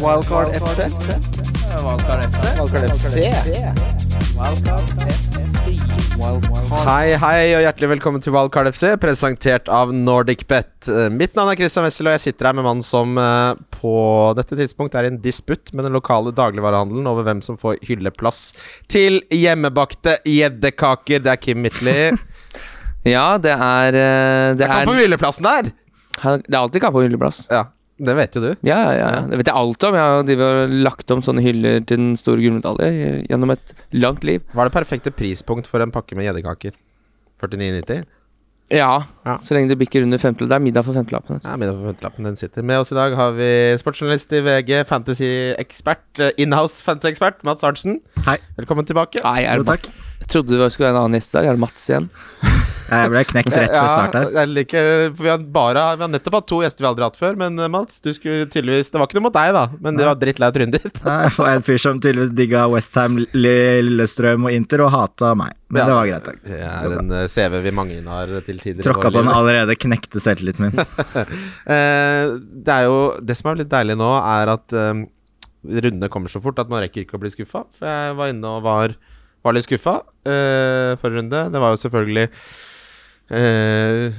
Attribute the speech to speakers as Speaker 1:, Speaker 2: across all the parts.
Speaker 1: Wildcard FC.
Speaker 2: Valgkar FC.
Speaker 1: Wildcard FC.
Speaker 3: Hei, hei, og hjertelig velkommen til Wildcard FC, presentert av NordicBet. Eh, Mitt navn er Christian Wessel, og jeg sitter her med mannen som eh, på dette tidspunkt er i en disputt med den lokale dagligvarehandelen over hvem som får hylleplass til hjemmebakte gjeddekaker. Det er Kim Mittli.
Speaker 4: Ja, det er eh, Det
Speaker 3: Det er
Speaker 4: er,
Speaker 3: på hylleplassen der!
Speaker 4: han- det er alltid Kappa hylleplass.
Speaker 3: Ja, det vet jo du.
Speaker 4: Ja, ja, ja. Det vet jeg alt om. Jeg har jo drevet og lagt om sånne hyller til den store gullmedalje gjennom et langt liv.
Speaker 3: Hva er det perfekte prispunkt for en pakke med gjeddekaker? 49,90?
Speaker 4: Ja,
Speaker 3: Ja.
Speaker 4: så lenge det bikker under femtelapp. Det er middag for femtelappen. altså.
Speaker 3: Ja, middag på ventelappen, den sitter. Med oss i dag har vi sportsjournalist i VG, fantasy-ekspert, eh, inhouse fantasy-ekspert, Mats Arntzen.
Speaker 2: Hei.
Speaker 3: Velkommen tilbake.
Speaker 4: Nei, er
Speaker 2: Jo,
Speaker 4: det,
Speaker 2: takk.
Speaker 4: jeg trodde det var- skulle være en annen gjest i dag. Er det Mats igjen?
Speaker 2: Jeg ble knekt rett før start her.
Speaker 3: Ja, jeg liker, for vi, har bare, vi har nettopp hatt to gjester vi aldri har hatt før, men eh, Mats, du skulle tydeligvis Det var ikke noe mot deg, da, men det var drittlei trynet ditt.
Speaker 2: Nei, Det var en fyr som tydeligvis digga Westham, Lillestrøm og Inter, og hata meg. Men
Speaker 3: Ja.
Speaker 2: det var greit. takk.
Speaker 3: Det er en eh, CV vi mange har til tider. i
Speaker 2: Tråkka
Speaker 3: våre
Speaker 2: på den
Speaker 3: liv.
Speaker 2: allerede knekte selvtilliten min.
Speaker 3: Eh, Det er jo Det som er litt deilig nå, er at eh, rundene kommer så fort at man rekker ikke å bli skuffa. For jeg var inne og var, var litt skuffa eh, forrige runde. Det var jo selvfølgelig eh,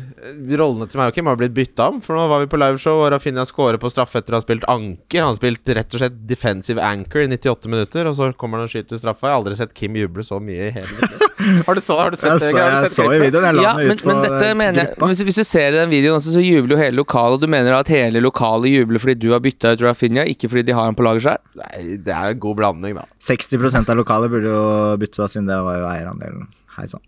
Speaker 3: rollene til meg og Kim har blitt bytta om, for nå var vi på liveshow, og Rafinha scorer på straffe etter å ha spilt anker. Han har spilt rett og slett defensive anchor i 98 minutter, og så kommer han og skyter straffa. Jeg har aldri sett Kim juble så mye i hele mitt liv. Har du så, har du sett
Speaker 2: Jeg så,
Speaker 3: det? Har du
Speaker 2: jeg
Speaker 3: sett
Speaker 2: så i
Speaker 3: klippet?
Speaker 2: videoen, jeg la
Speaker 4: Ja,
Speaker 2: den
Speaker 4: men,
Speaker 2: ut på
Speaker 4: men dette mener jeg
Speaker 2: gruppa.
Speaker 4: hvis, hvis du ser i den videoen også, så jubler jo hele lokalet. Og du mener at hele lokalet jubler fordi du har bytta ut Rafinha, ikke fordi de har han på laget sjøl?
Speaker 3: Nei, det er en god blanding, da.
Speaker 2: 60 av lokalet burde jo bytte, da, siden det var jo eierandelen. Hei sann.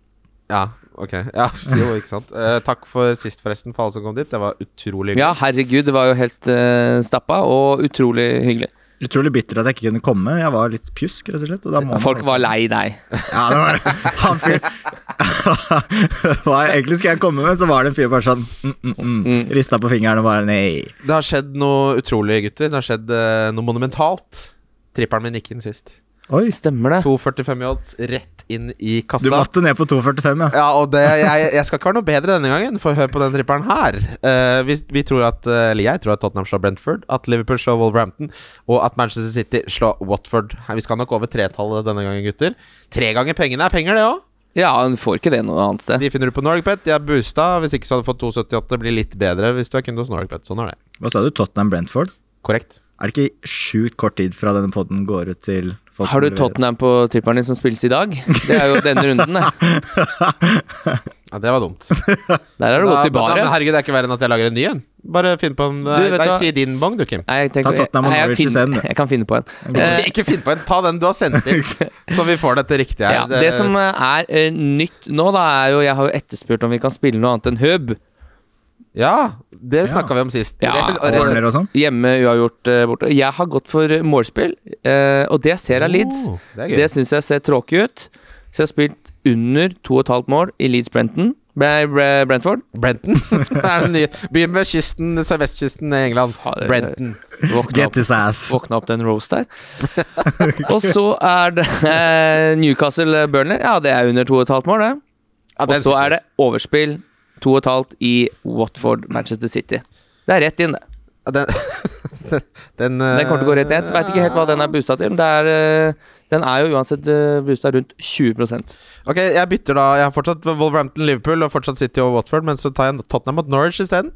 Speaker 3: Ja, ok. Ja, jo, ikke sant. Eh, takk for sist, forresten, for alle som kom dit. Det var utrolig hyggelig.
Speaker 4: Ja, herregud, det var jo helt eh, stappa og utrolig hyggelig.
Speaker 2: Utrolig bitter at jeg ikke kunne komme. Jeg var litt pjusk, rett og slett. Og da må man
Speaker 4: Folk
Speaker 2: liksom-
Speaker 4: var lei deg.
Speaker 2: Ja, det var han fyr Det var- Egentlig skulle jeg komme med, så var det en fyr bare sånn mm, mm, mm, Rista på fingeren og bare nei.
Speaker 3: Det har skjedd noe utrolig, gutter. Det har skjedd eh, noe monumentalt. Tripperen min gikk inn sist.
Speaker 2: Oi,
Speaker 4: Stemmer det.
Speaker 3: 2,45 i odds, rett inn i
Speaker 2: du
Speaker 3: kassa.
Speaker 2: måtte ned på 2,45, ja.
Speaker 3: Ja, og det, jeg, jeg skal ikke være noe bedre denne gangen, for hør på den tripperen her. Eh, vi, vi tror at, eh, eller jeg tror at Tottenham slår Brentford, at Liverpool slår Wolverhampton, og at Manchester City slår Watford. Vi skal nok over tretallet denne gangen, gutter. Tre ganger pengene er penger, det òg.
Speaker 4: Ja, han får ikke det noe annet sted.
Speaker 3: De finner du på Norgpet. De er boosta. Hvis ikke så hadde du fått 2,78. Det Blir litt bedre hvis du er kunde hos Norgpet. Sånn er det.
Speaker 2: Hva sa du? Tottenham-Brentford?
Speaker 3: Korrekt.
Speaker 2: Er det ikke sjukt kort tid fra denne poden går ut til folk
Speaker 4: Har du
Speaker 2: som leverer?
Speaker 4: Tottenham på tripperen din som spilles i dag? Det er jo denne runden, det.
Speaker 3: Ja, det var dumt.
Speaker 4: Der har du gått i
Speaker 3: Da- da- men
Speaker 4: baret.
Speaker 3: herregud, det er ikke verre enn at jeg lager en ny en. Bare finn på en Nei,
Speaker 4: vet
Speaker 3: nei,
Speaker 4: hva-
Speaker 3: si din bong, du, Kim.
Speaker 4: Nei, jeg,
Speaker 2: Ta
Speaker 4: tenker,
Speaker 2: Tottenham og
Speaker 4: Nei, jeg,
Speaker 2: Norwich isteden,
Speaker 4: finner,
Speaker 2: du.
Speaker 4: jeg kan finne på en. Eh,
Speaker 3: Ikke finn på en. Ta den du har sendt inn, så vi får dette riktig her.
Speaker 4: ja, det som eh, er eh, nytt nå, da, er jo Jeg har jo etterspurt om vi kan spille noe annet enn hub.
Speaker 3: Ja, det snakka vi om sist.
Speaker 4: Ja,
Speaker 3: Det-
Speaker 4: altså-
Speaker 3: det-
Speaker 2: Corner og sånn?
Speaker 4: Hjemme uavgjort eh, borte. Jeg har gått for eh, målspill, eh, og det ser jeg av Leeds.
Speaker 3: Oh, det er gøy.
Speaker 4: Det syns jeg ser tråkig ut. Så jeg har spilt under 2,5 mål i Leeds Brenton. Bre- Bre- Brentford.
Speaker 3: Brenton. det er den nye. Begynn med kysten, sørvestkysten i England.
Speaker 4: Ha det-
Speaker 3: Brenton.
Speaker 4: Våkna
Speaker 2: Get
Speaker 4: opp,
Speaker 2: his ass.
Speaker 4: våkna opp til en roast der. og så er det eh, Newcastle-Burnley. Ja, det er under 2,5 mål, det.
Speaker 3: Ja,
Speaker 4: Og så er det overspill 2,5 i Watford-Manchester City. Det er rett inn, det.
Speaker 3: Den, den, eh,
Speaker 4: Den kommer til å gå rett ned. Veit ikke helt hva den er boosta til. men Det er, eh, den er jo uansett eh, boosta rundt 20
Speaker 3: Ok, jeg bytter da. Jeg har fortsatt Wolverhampton-Liverpool og fortsatt City og Watford, men så tar jeg Tottenham mot Norwich isteden.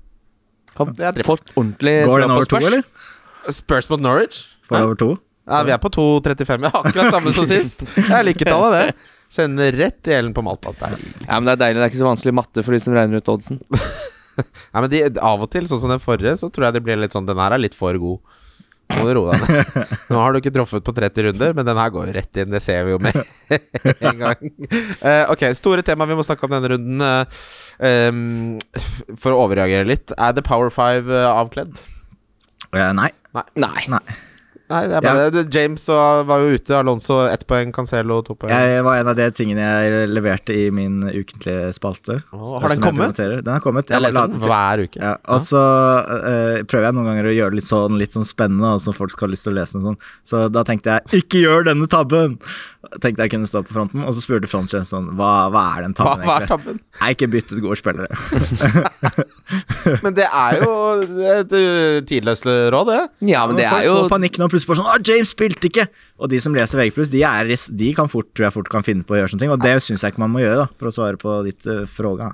Speaker 4: Kan
Speaker 3: Det er dritt.
Speaker 4: fått ordentlig
Speaker 2: Går
Speaker 4: trua
Speaker 2: den
Speaker 4: på
Speaker 2: over to,
Speaker 4: Spurs.
Speaker 2: eller?
Speaker 3: Spurs mot Norwich?
Speaker 2: Får den over to?
Speaker 3: Ja, vi er på 2.35. Ja, akkurat samme som sist. Jeg liker tallet, det. Sender rett i hælen på Malta. Der.
Speaker 4: Ja, men Det er deilig, det er ikke så vanskelig matte for de som regner ut oddsen.
Speaker 3: Nei, men de, Av og til, sånn som den forrige, så tror jeg det blir litt sånn Den her er litt for god. Må du roe deg ned. Nå har du ikke truffet på 30 runder, men den her går jo rett inn. Det ser vi jo med en gang. Eh, ok, store tema vi må snakke om denne runden. eh, em, for å overreagere litt. Er The Power Five eh, avkledd?
Speaker 2: Eh, Nei.
Speaker 4: Nei.
Speaker 3: Nei, det er bare det. James og, var jo ute. Alonso ett poeng, Cancelo to poeng.
Speaker 2: Jeg var en av de tingene jeg leverte i min ukentlige spalte.
Speaker 3: Å, har
Speaker 2: som
Speaker 3: den
Speaker 2: jeg
Speaker 3: kommet?
Speaker 2: promoterer. Den har kommet.
Speaker 3: jeg leser den
Speaker 2: la-
Speaker 3: liksom. hver uke.
Speaker 2: Ja, og så eh, prøver jeg noen ganger å gjøre det litt sånn, litt sånn spennende, da, så folk skal ha lyst til å lese den sånn. Så da tenkte jeg 'ikke gjør denne tabben'! Tenkte jeg kunne stå på fronten, og så spurte Franchise sånn Hva, hva er den
Speaker 3: Hva,
Speaker 2: tabben,
Speaker 3: hva er
Speaker 2: egentlig?
Speaker 3: tabben?
Speaker 2: Jeg er ikke byttet gode spillere.
Speaker 3: Men det er jo et uh, tidløst råd, det.
Speaker 4: Ja, men det
Speaker 2: folk
Speaker 4: er jo
Speaker 2: får panikk nå, plutselig bare sånn Å, James spilte ikke! Og de som leser VG+, de, er, de kan fort, tror jeg fort kan finne på å gjøre sånne ting, og det syns jeg ikke man må gjøre, da, for å svare på ditt uh, fråga.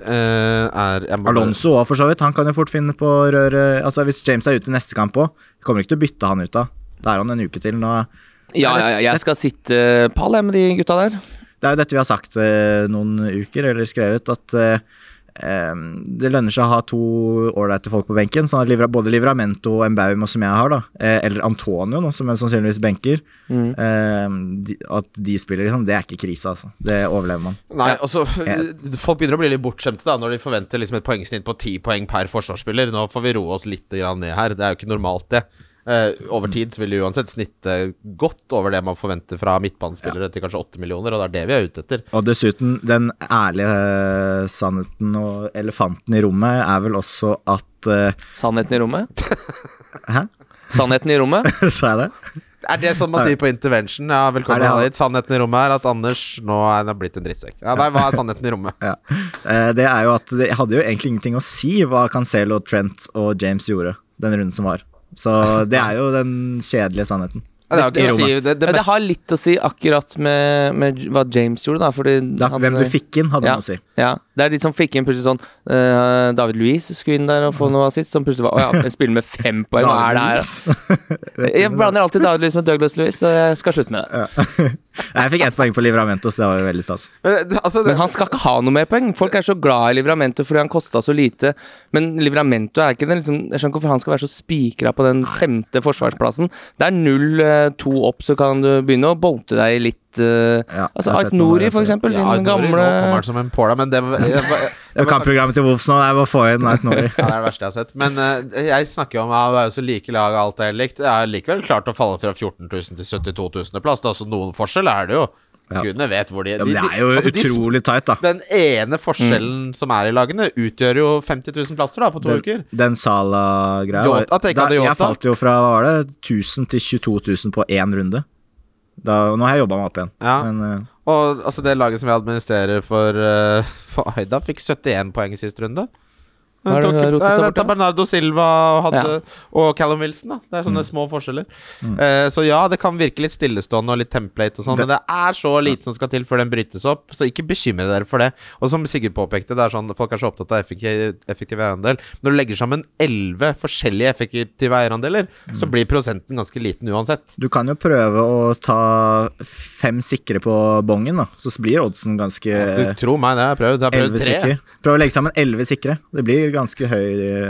Speaker 3: Eh, er jeg må-
Speaker 2: Alonso òg, for så vidt. Han kan jo fort finne på å røre Altså, hvis James er ute neste kamp òg, kommer ikke til å bytte han ut da. Da er han en uke til. Nå,
Speaker 4: Ja, ja, ja, jeg skal sitte pall jeg, med de gutta der.
Speaker 2: det er jo dette vi har sagt eh, noen uker, eller skrevet, at eh, eh, det lønner seg å ha to ålreite folk på benken. Sånn at Livra, både Livramento og Mbaum, som jeg har, da, eh, eller Antonio, nå, som jeg sannsynligvis benker, eh, de, at de spiller, liksom, det er ikke krise, altså. Det overlever man.
Speaker 3: Nei, altså, folk begynner å bli litt bortskjemte da når de forventer liksom et poengsnitt på ti poeng per forsvarsspiller. Nå får vi roe oss litt grann ned her. Det er jo ikke normalt, det. Eh, over tid så vil det uansett snitte godt over det man forventer fra midtbanespillere til kanskje åtte millioner, og det er det vi er ute etter.
Speaker 2: Og dessuten, den ærlige eh, sannheten og elefanten i rommet er vel også at eh,
Speaker 4: Sannheten i rommet.
Speaker 2: Hæ?
Speaker 4: Sannheten i rommet.
Speaker 2: Sa jeg det?
Speaker 3: Er det sånn man sier på intervention? Ja, velkommen
Speaker 2: Er det-
Speaker 3: hit. Sannheten i rommet er at Anders nå er han blitt en drittsekk. Ja, nei, hva er sannheten i rommet?
Speaker 2: Ja. Eh, Det er jo at det hadde jo egentlig ingenting å si hva Cancelo, Trent og James gjorde den runden som var. Så det er jo den kjedelige sannheten.
Speaker 3: Ja, det
Speaker 2: I
Speaker 3: har ikke noe å si.
Speaker 2: rommet.
Speaker 3: Det, det
Speaker 4: Ja, det
Speaker 3: beste
Speaker 4: har litt å si akkurat med, med hva James gjorde, da. Fordi
Speaker 2: Da, hvem du fikk inn, hadde
Speaker 4: eh, ja,
Speaker 2: noe å si.
Speaker 4: Ja. Det er litt som fikk inn plutselig sånn eh, David Louise skulle inn der og få noe assist, som plutselig var Å ja, jeg spiller med fem poeng, hva er det her? da? Jeg blander alltid David Louise med Douglas Louise, så jeg skal slutte med det.
Speaker 2: Jeg fikk ett poeng på Livramentos, det var jo veldig stas.
Speaker 3: Men, det- altså, det,
Speaker 4: Men han skal ikke ha noe mer poeng. Folk er så glad i Livramento fordi han kosta så lite. Men Livramento er ikke den liksom, Jeg skjønner ikke hvorfor han skal være så spikra på den femte forsvarsplassen. Det er null eh, to opp, så kan du begynne å bolte deg litt eh,
Speaker 2: Ja, jeg
Speaker 4: Altså
Speaker 2: har sett
Speaker 4: Art
Speaker 2: noen
Speaker 4: Nori,
Speaker 2: av
Speaker 4: for
Speaker 2: dette.
Speaker 4: eksempel.
Speaker 3: ja,
Speaker 4: den
Speaker 3: Nori, Nå kommer
Speaker 4: gamle
Speaker 3: han som en påla, men det jeg, jeg,
Speaker 2: Det er jo kampprogrammet til Wolfs nå, jeg må få inn Night Norway.
Speaker 3: Ja, det er det verste jeg har sett. Men eh, jeg snakker jo om at det er jo så like lag og alt er likt. Jeg har likevel klart å falle fra 14 000 til 72 000 plass. Det er altså noen forskjell er det jo.
Speaker 2: Ja.
Speaker 3: Gudene vet hvor de,
Speaker 2: Ja,
Speaker 3: de,
Speaker 2: men det er
Speaker 3: de
Speaker 2: jo Mm.
Speaker 3: altså, de sp-
Speaker 2: utrolig tight, da.
Speaker 3: Den ene forskjellen som er i lagene, utgjør jo 50 000 plasser da, på to
Speaker 2: Den,
Speaker 3: uker.
Speaker 2: den Sala-greia var-
Speaker 3: Jota, tenker
Speaker 2: da-
Speaker 3: jeg det Jota.
Speaker 2: Jeg falt jo fra hva var det, 1000 til 22 000 på én runde. Da, nå har jeg jobba meg opp igjen.
Speaker 3: Ja.
Speaker 2: Men eh,
Speaker 3: Og altså, det laget som jeg administrerer for, eh, for Aida, fikk 71 poeng i sist runde. Eh,
Speaker 4: Hva er det
Speaker 3: Tok-
Speaker 4: du har rotet
Speaker 3: Nei,
Speaker 4: seg
Speaker 3: det
Speaker 4: bort da?
Speaker 3: er Bernardo Silva hadde, og Callum Wilson. da Det er
Speaker 4: Mm.
Speaker 3: sånne små forskjeller. Eh, så ja, det kan virke litt stillestående og litt template, og sånn men det er så lite som skal til før den brytes opp, så ikke bekymre dere for det. Og som Sigurd påpekte, det er sånn folk er så opptatt av effektiv, effektiv eierandel. Når du legger sammen 11 forskjellige effektive eierandeler,
Speaker 4: Mm.
Speaker 3: så blir prosenten ganske liten uansett.
Speaker 2: Du kan jo prøve å ta fem sikre på bongen, da. Så blir oddsen ganske
Speaker 3: Du tror meg, det har jeg prøvd. Jeg har
Speaker 2: Eh, elleve
Speaker 3: prøvd tre.
Speaker 2: sikre. Prøv å legge sammen elleve sikre. Det blir ganske høy.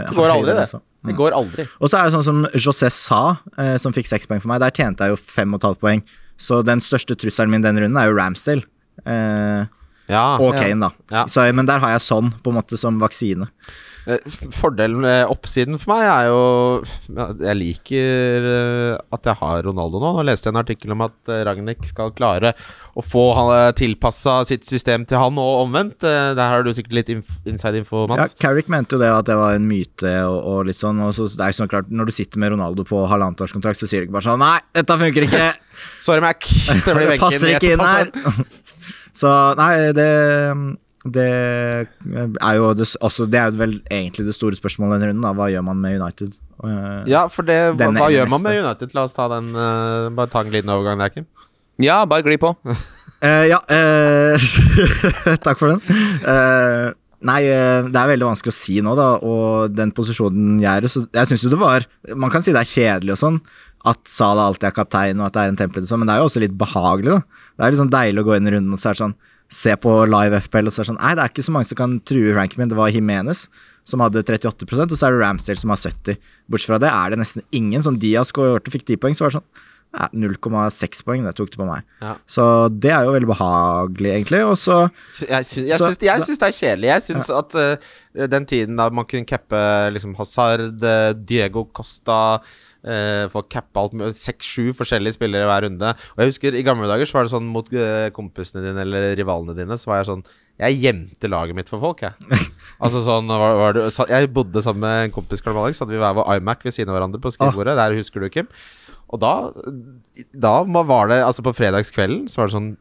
Speaker 2: altså.
Speaker 3: Det går aldri, det. Det går aldri.
Speaker 2: Og så er det sånn som José sa, eh, som fikk seks poeng for meg. Der tjente jeg jo fem og et halvt poeng. Så den største trusselen min denne runden er jo Ramsdale. Eh,
Speaker 3: Ja.
Speaker 2: og Kane, da.
Speaker 3: Ja.
Speaker 2: Så, men der har jeg sånn, på en måte, som vaksine.
Speaker 3: Eh, f- Fordelen med oppsiden for meg er jo ja, Jeg liker eh, at jeg har Ronaldo nå. Nå leste jeg en artikkel om at eh, Ragnhild skal klare å få tilpassa sitt system til han, og omvendt. Eh, Der har du sikkert litt inf inside info,
Speaker 2: Ja,
Speaker 3: Mats.
Speaker 2: Carrick mente jo det at det var en myte og, og litt sånn. Og så, det er jo sånn klart, når du sitter med Ronaldo på halvannet års kontrakt, så sier du ikke bare sånn Nei, dette funker ikke!
Speaker 3: Sorry, Mac. Det blir
Speaker 2: Det
Speaker 3: benken
Speaker 2: passer
Speaker 3: i
Speaker 2: ikke inn her.
Speaker 3: etterkant.
Speaker 2: Så nei, det det er jo det, også, det er jo vel egentlig det store spørsmålet denne runden. Da. Hva gjør man med United? Eh,
Speaker 3: Ja, for det, hva,
Speaker 2: Den
Speaker 3: hva
Speaker 2: ene
Speaker 3: gjør man med
Speaker 2: neste.
Speaker 3: United? La oss ta den eh, Bare ta en glidende overgang der, Kim.
Speaker 4: Ja, bare gli på.
Speaker 2: eh, ja eh, Takk for den. Eh, nei, eh, det er veldig vanskelig å si nå, da. Og den posisjonen jeg er i, så jeg syns jo det var Man kan si det er kjedelig og sånn, at Salah alltid er kaptein og at det er en tempel og sånn, men det er jo også litt behagelig, da. Det er litt sånn deilig å gå inn i runden og så er det sånn Se på live FPL og så er det sånn Nei, det er ikke så mange som kan true ranken min. Det var Jimenez som hadde 38 og så er det Ramsdale som har 70 Bortsett fra det er det nesten ingen. Som Diaz skåret og fikk 10 poeng, så var det sånn ja, 0,6 poeng, det tok det på meg.
Speaker 3: Ja.
Speaker 2: Så det er jo veldig behagelig, egentlig. Og så
Speaker 3: Så Jeg, sy jeg,
Speaker 2: Så-
Speaker 3: syns, jeg
Speaker 2: så-
Speaker 3: syns det er kjedelig. Jeg syns at eh, den tiden da man kunne cappe liksom Hazard, eh, Diego Costa eh, Folk cappa alt med seks-sju forskjellige spillere hver runde. Og jeg husker I gamle dager så var det sånn mot eh, kompisene dine eller rivalene dine, så var jeg sånn Jeg gjemte laget mitt for folk, jeg. Altså sånn, var, var det, sa- jeg bodde sammen med en kompis, Karl Alex, hadde vi hver vår iMac ved siden av hverandre på skrivebordet. Der husker du, Kim. Og da, da var det Altså, på fredagskvelden så var det sånn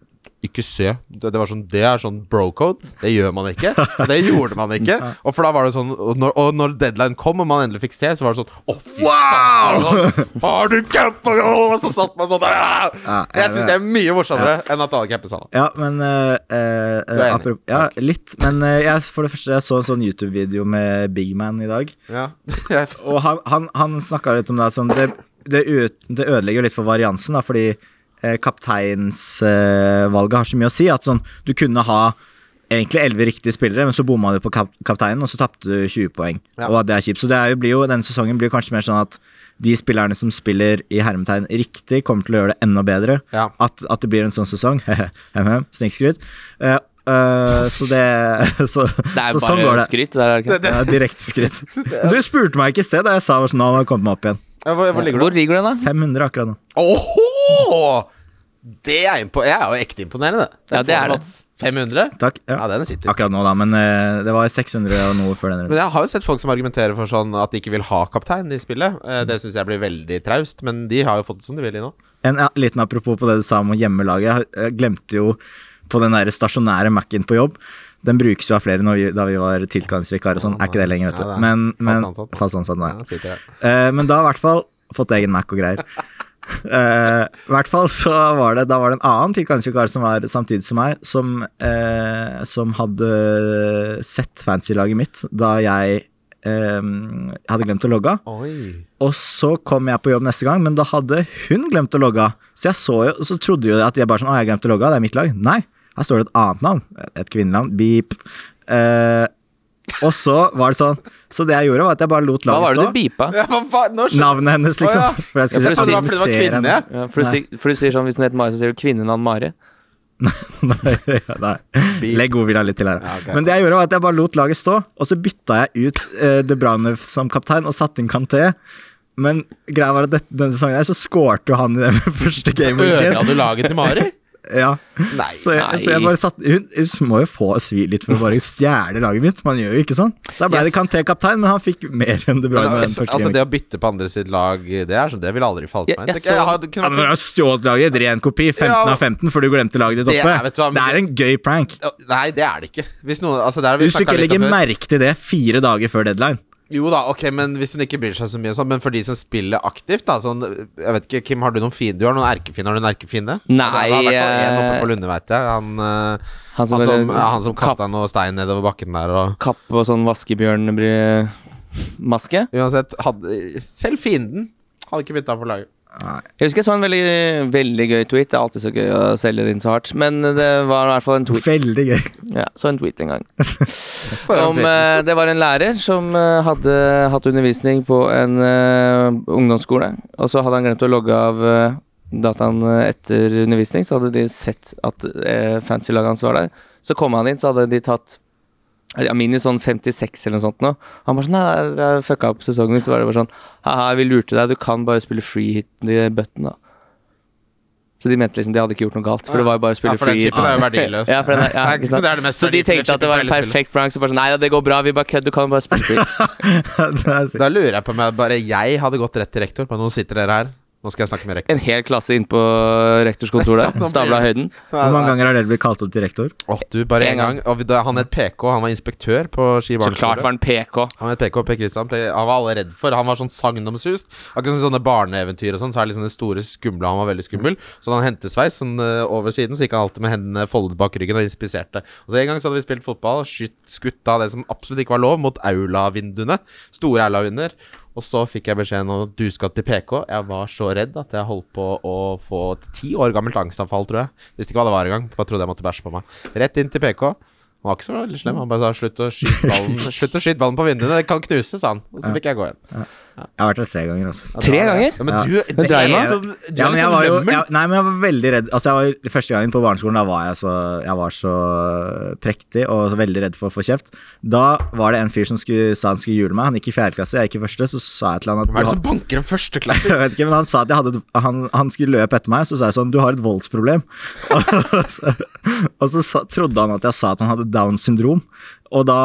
Speaker 3: ikke se. Det, det var sånn, det er sånn bro-code. Det gjør man ikke. Og det gjorde man ikke. Og for da var det sånn Og når, og når deadline kom, og man endelig fikk se, så var det sånn Å, fy faen! altså. Har du cappa? Og så satt man sånn «Ah!»
Speaker 2: Ja, jeg-
Speaker 3: Jeg syns det er mye morsommere enn at alle capper sammen.
Speaker 2: Ja, men eh, eh,
Speaker 3: Du er enig?
Speaker 2: apropos- Ja, litt. Men eh, jeg, for det første, jeg så en sånn YouTube-video med Big Man i dag.
Speaker 3: Ja. Jeg
Speaker 2: Og han, han, han snakka litt om det at sånn, det, det, ut, det ødelegger jo litt for variansen, da, fordi eh, kapteinsvalget har så mye å si. At sånn, du kunne ha egentlig elleve riktige spillere, men så bomma du på kap kapteinen, og så tapte du 20 poeng.
Speaker 3: Ja.
Speaker 2: Og at det er kjipt. Så det er jo, blir jo, denne sesongen blir jo kanskje mer sånn at de spillerne som spiller i hermetegn riktig, kommer til å gjøre det enda bedre.
Speaker 3: Ja.
Speaker 2: At, at det blir en sånn sesong. Mhm, Snikskryt. Eh, eh, så det så,
Speaker 4: Det er
Speaker 2: så sånn går
Speaker 4: bare
Speaker 2: det.
Speaker 4: skryt. Det der, er det ikke?
Speaker 2: Ja, direkte skritt. Du spurte meg ikke i sted da jeg sa var sånn, nå har jeg kommet meg opp igjen.
Speaker 3: Ja, Hvor, hvor ligger du?
Speaker 4: Hvor ligger den, da?
Speaker 2: 500 akkurat nå.
Speaker 3: Åhå! Det er impo jeg er jo ekte imponerende.
Speaker 4: Ja, det er det.
Speaker 3: Mats. 500?
Speaker 2: Takk.
Speaker 3: Ja.
Speaker 2: Ja.
Speaker 3: den sitter.
Speaker 2: Akkurat nå, da, men eh, det var 600 og noe før den runden.
Speaker 3: Men jeg har jo sett folk som argumenterer for sånn at de ikke vil ha kaptein i spillet. Eh,
Speaker 2: Mm.
Speaker 3: Det syns jeg blir veldig traust, men de har jo fått det som de vil i nå.
Speaker 2: En ja, liten apropos på det du sa om å gjemme laget. Jeg jeg glemte jo på den der stasjonære Mac-en på jobb. Den brukes jo av flere når vi, da vi var tilkallingsvikarer og sånn. Er ikke det lenger, vet
Speaker 3: Ja,
Speaker 2: du.
Speaker 3: det er
Speaker 2: Men,
Speaker 3: fast
Speaker 2: men
Speaker 3: ansatt.
Speaker 2: Fast ansatt, nei.
Speaker 3: Ja, sitter der.
Speaker 2: Eh, men da i hvert fall fått egen Mac og greier. Eh, I hvert fall så var det Da var det en annen tilkallingsvikar som var samtidig som meg, som, eh, som hadde sett fancy-laget mitt da jeg eh, hadde glemt å logge av.
Speaker 3: Oi.
Speaker 2: Og så kom jeg på jobb neste gang, men da hadde hun glemt å logge av. Så jeg så jo, så trodde jo at jeg bare sånn, å jeg glemte å logge av, det er mitt lag. Nei, her står det et annet navn, et kvinnenavn, beep. Eh, og så var det sånn, så det jeg gjorde var at jeg bare lot
Speaker 4: Hva var
Speaker 2: laget
Speaker 4: det
Speaker 2: stå.
Speaker 4: du beepa?
Speaker 3: Ja, hva faen? Nå skjønner
Speaker 2: Navnet hennes, liksom.
Speaker 3: Å, ja.
Speaker 2: For jeg skulle
Speaker 4: Ja, for
Speaker 2: si-
Speaker 3: var
Speaker 4: det
Speaker 3: fordi det var
Speaker 2: annonsere
Speaker 3: kvinne,
Speaker 2: henne.
Speaker 4: Ja, for, du, sier- for du sier sånn Hvis hun heter Mari, så sier du kvinnenavn Mari.
Speaker 2: Nei, nei. Legg godvilja litt til her.
Speaker 3: Ja, ok.
Speaker 2: Men det jeg gjorde, var at jeg bare lot laget stå, og så bytta jeg ut eh, Dubravnev som kaptein og satte inn Kanté. Men greia var at dette, denne sesongen her så skårte jo han i den første
Speaker 3: Ødela
Speaker 2: gameweeken.
Speaker 3: du laget til Mari?
Speaker 2: Ja.
Speaker 3: Nei.
Speaker 2: Så, jeg- så jeg
Speaker 4: nei.
Speaker 2: bare satt hun, hun må jo få svi litt for å bare stjele laget mitt. Man gjør jo ikke sånn. Så da ble det
Speaker 4: Yes.
Speaker 2: Kanté kaptein, men han fikk mer enn Dubravnev den første
Speaker 3: Altså,
Speaker 2: gameweeken.
Speaker 3: det å bytte på andre sitt lag, det er sånn Det ville aldri falt
Speaker 4: Jeg-
Speaker 3: meg
Speaker 4: jeg
Speaker 3: inn.
Speaker 4: så-
Speaker 3: Jeg hadde-
Speaker 2: Ja,
Speaker 3: kunne
Speaker 2: men når du har stjålet laget, ditt, ren kopi, 15
Speaker 3: Ja.
Speaker 2: av 15, for du glemte laget ditt
Speaker 3: Det
Speaker 2: oppe.
Speaker 3: er- vet du hva, men
Speaker 2: det er en gøy prank.
Speaker 3: vært- Nei, det er det ikke. Hvis noen altså, der har vi
Speaker 2: Hvis du
Speaker 3: snakket
Speaker 2: ikke
Speaker 3: litt om
Speaker 2: legger
Speaker 3: før.
Speaker 2: merke til det fire dager før deadline.
Speaker 3: Jo da, ok, men hvis hun ikke bryr seg så mye og sånn, men for de som spiller aktivt, da sånn Jeg vet ikke, Kim, har du noen fiende? Du har noen erkefiende? Har du en erkefiende?
Speaker 4: Nei,
Speaker 3: Det var i hvert fall en
Speaker 4: eh,
Speaker 3: oppe på Lunde, veit jeg. Han, eh,
Speaker 4: Han som,
Speaker 3: han som, ja,
Speaker 4: han
Speaker 3: han som kasta noe stein nedover bakken der og
Speaker 4: kapp og sånn vaskebjørnmaske.
Speaker 3: Uansett, hadde, selv fienden hadde ikke bytta på laget.
Speaker 4: Jeg husker jeg så en veldig, veldig gøy tweet. Det er alltid så gøy å selge det inn så hardt. Men det var i hvert fall en tweet.
Speaker 2: Veldig gøy.
Speaker 4: Ja, så en tweet en gang.
Speaker 3: Får høre om
Speaker 4: Om eh, det var en lærer som eh, hadde hatt undervisning på en eh, ungdomsskole, og så hadde han glemt å logge av eh, dataen eh, etter undervisning, så hadde de sett at eh, fancy-laget hans var der. Så kom han inn, så hadde de tatt ja, Mini sånn 56 eller noe sånt nå. Han bare sånn Nei, dere har fucka opp sesongen. Så var det bare sånn Haha, vi lurte deg. Du kan bare spille free hit i button, da. Så de mente liksom de hadde ikke gjort noe galt, for det var jo bare å spille
Speaker 3: Ja, for den
Speaker 4: free hit.
Speaker 3: chipen er jo verdiløs.
Speaker 4: Ja, for den er- ja,
Speaker 3: Nei,
Speaker 4: ikke
Speaker 3: så
Speaker 4: sant?
Speaker 3: det er det mest
Speaker 4: Så de
Speaker 3: verdifulle
Speaker 4: tenkte at det var en
Speaker 3: chipen på hele spillet.
Speaker 4: perfekt prank. Så bare sånn, nei da, det går bra, vi bare kødder, du kan bare spille free.
Speaker 2: Det er sikkert.
Speaker 3: Da lurer jeg på om jeg bare jeg hadde gått rett til rektor, men nå sitter dere her. Nå skal jeg snakke med rektor.
Speaker 4: En hel klasse inn på rektors kontor der. Stabla i høyden.
Speaker 2: Hvor mange ganger har dere blitt kalt opp til rektor?
Speaker 3: Å, du, bare
Speaker 4: En
Speaker 3: en gang. Og da, han het PK, han var inspektør på Ski
Speaker 4: Så
Speaker 3: barneskole.
Speaker 4: klart var han PK.
Speaker 3: Han het PK, Per Kristian. Per- Han var alle redd for. Han var sånn sagnomsust. Akkurat som sånne barneeventyr og sånn, så er liksom det store skumle Han var veldig skummel. Så da han hentesveis sånn eh, over siden, så gikk han alltid med hendene foldet bak ryggen og inspiserte. Og så en gang så hadde vi spilt fotball og skytt, skutt av det som absolutt ikke var lov, mot aulavinduene. Store aulavinduer. Og så fikk jeg beskjeden om at du skal til PK. Jeg var så redd at jeg holdt på å få et ti år gammelt angstanfall, tror jeg. Visste ikke hva det var engang. Bare trodde jeg måtte bæsje på meg. Rett inn til PK. Han var ikke så veldig slem. Han bare sa 'slutt å skyte ballen Slutt å skyte ballen på vinduene, det kan knuse', sa han. Og så fikk jeg gå igjen.
Speaker 2: Jeg har vært der tre ganger, altså.
Speaker 4: Tre ganger?
Speaker 3: Ja, men
Speaker 2: Ja.
Speaker 3: du, det
Speaker 4: Men Dreima?
Speaker 3: er sånn- du
Speaker 2: Ja,
Speaker 3: er
Speaker 2: men
Speaker 3: litt
Speaker 2: jeg
Speaker 3: sånn
Speaker 2: var jo
Speaker 3: lømmel.
Speaker 2: jeg, Nei, men jeg var veldig redd Altså, jeg var første gangen på barneskolen Da var jeg så Jeg var så prektig Og så veldig redd for å få kjeft Da var det en fyr som skulle, sa han skulle jule meg Han gikk i fjerde klasse Jeg gikk i første Så sa jeg til han at
Speaker 3: Hvem er
Speaker 2: du
Speaker 3: det
Speaker 2: har-
Speaker 3: som banker en førsteklasse?
Speaker 2: jeg vet ikke, men han sa at jeg hadde et, han, han skulle løpe etter meg, så sa jeg sånn Du har et voldsproblem. og så, og så sa, trodde han at jeg sa at han hadde Downs syndrom, og da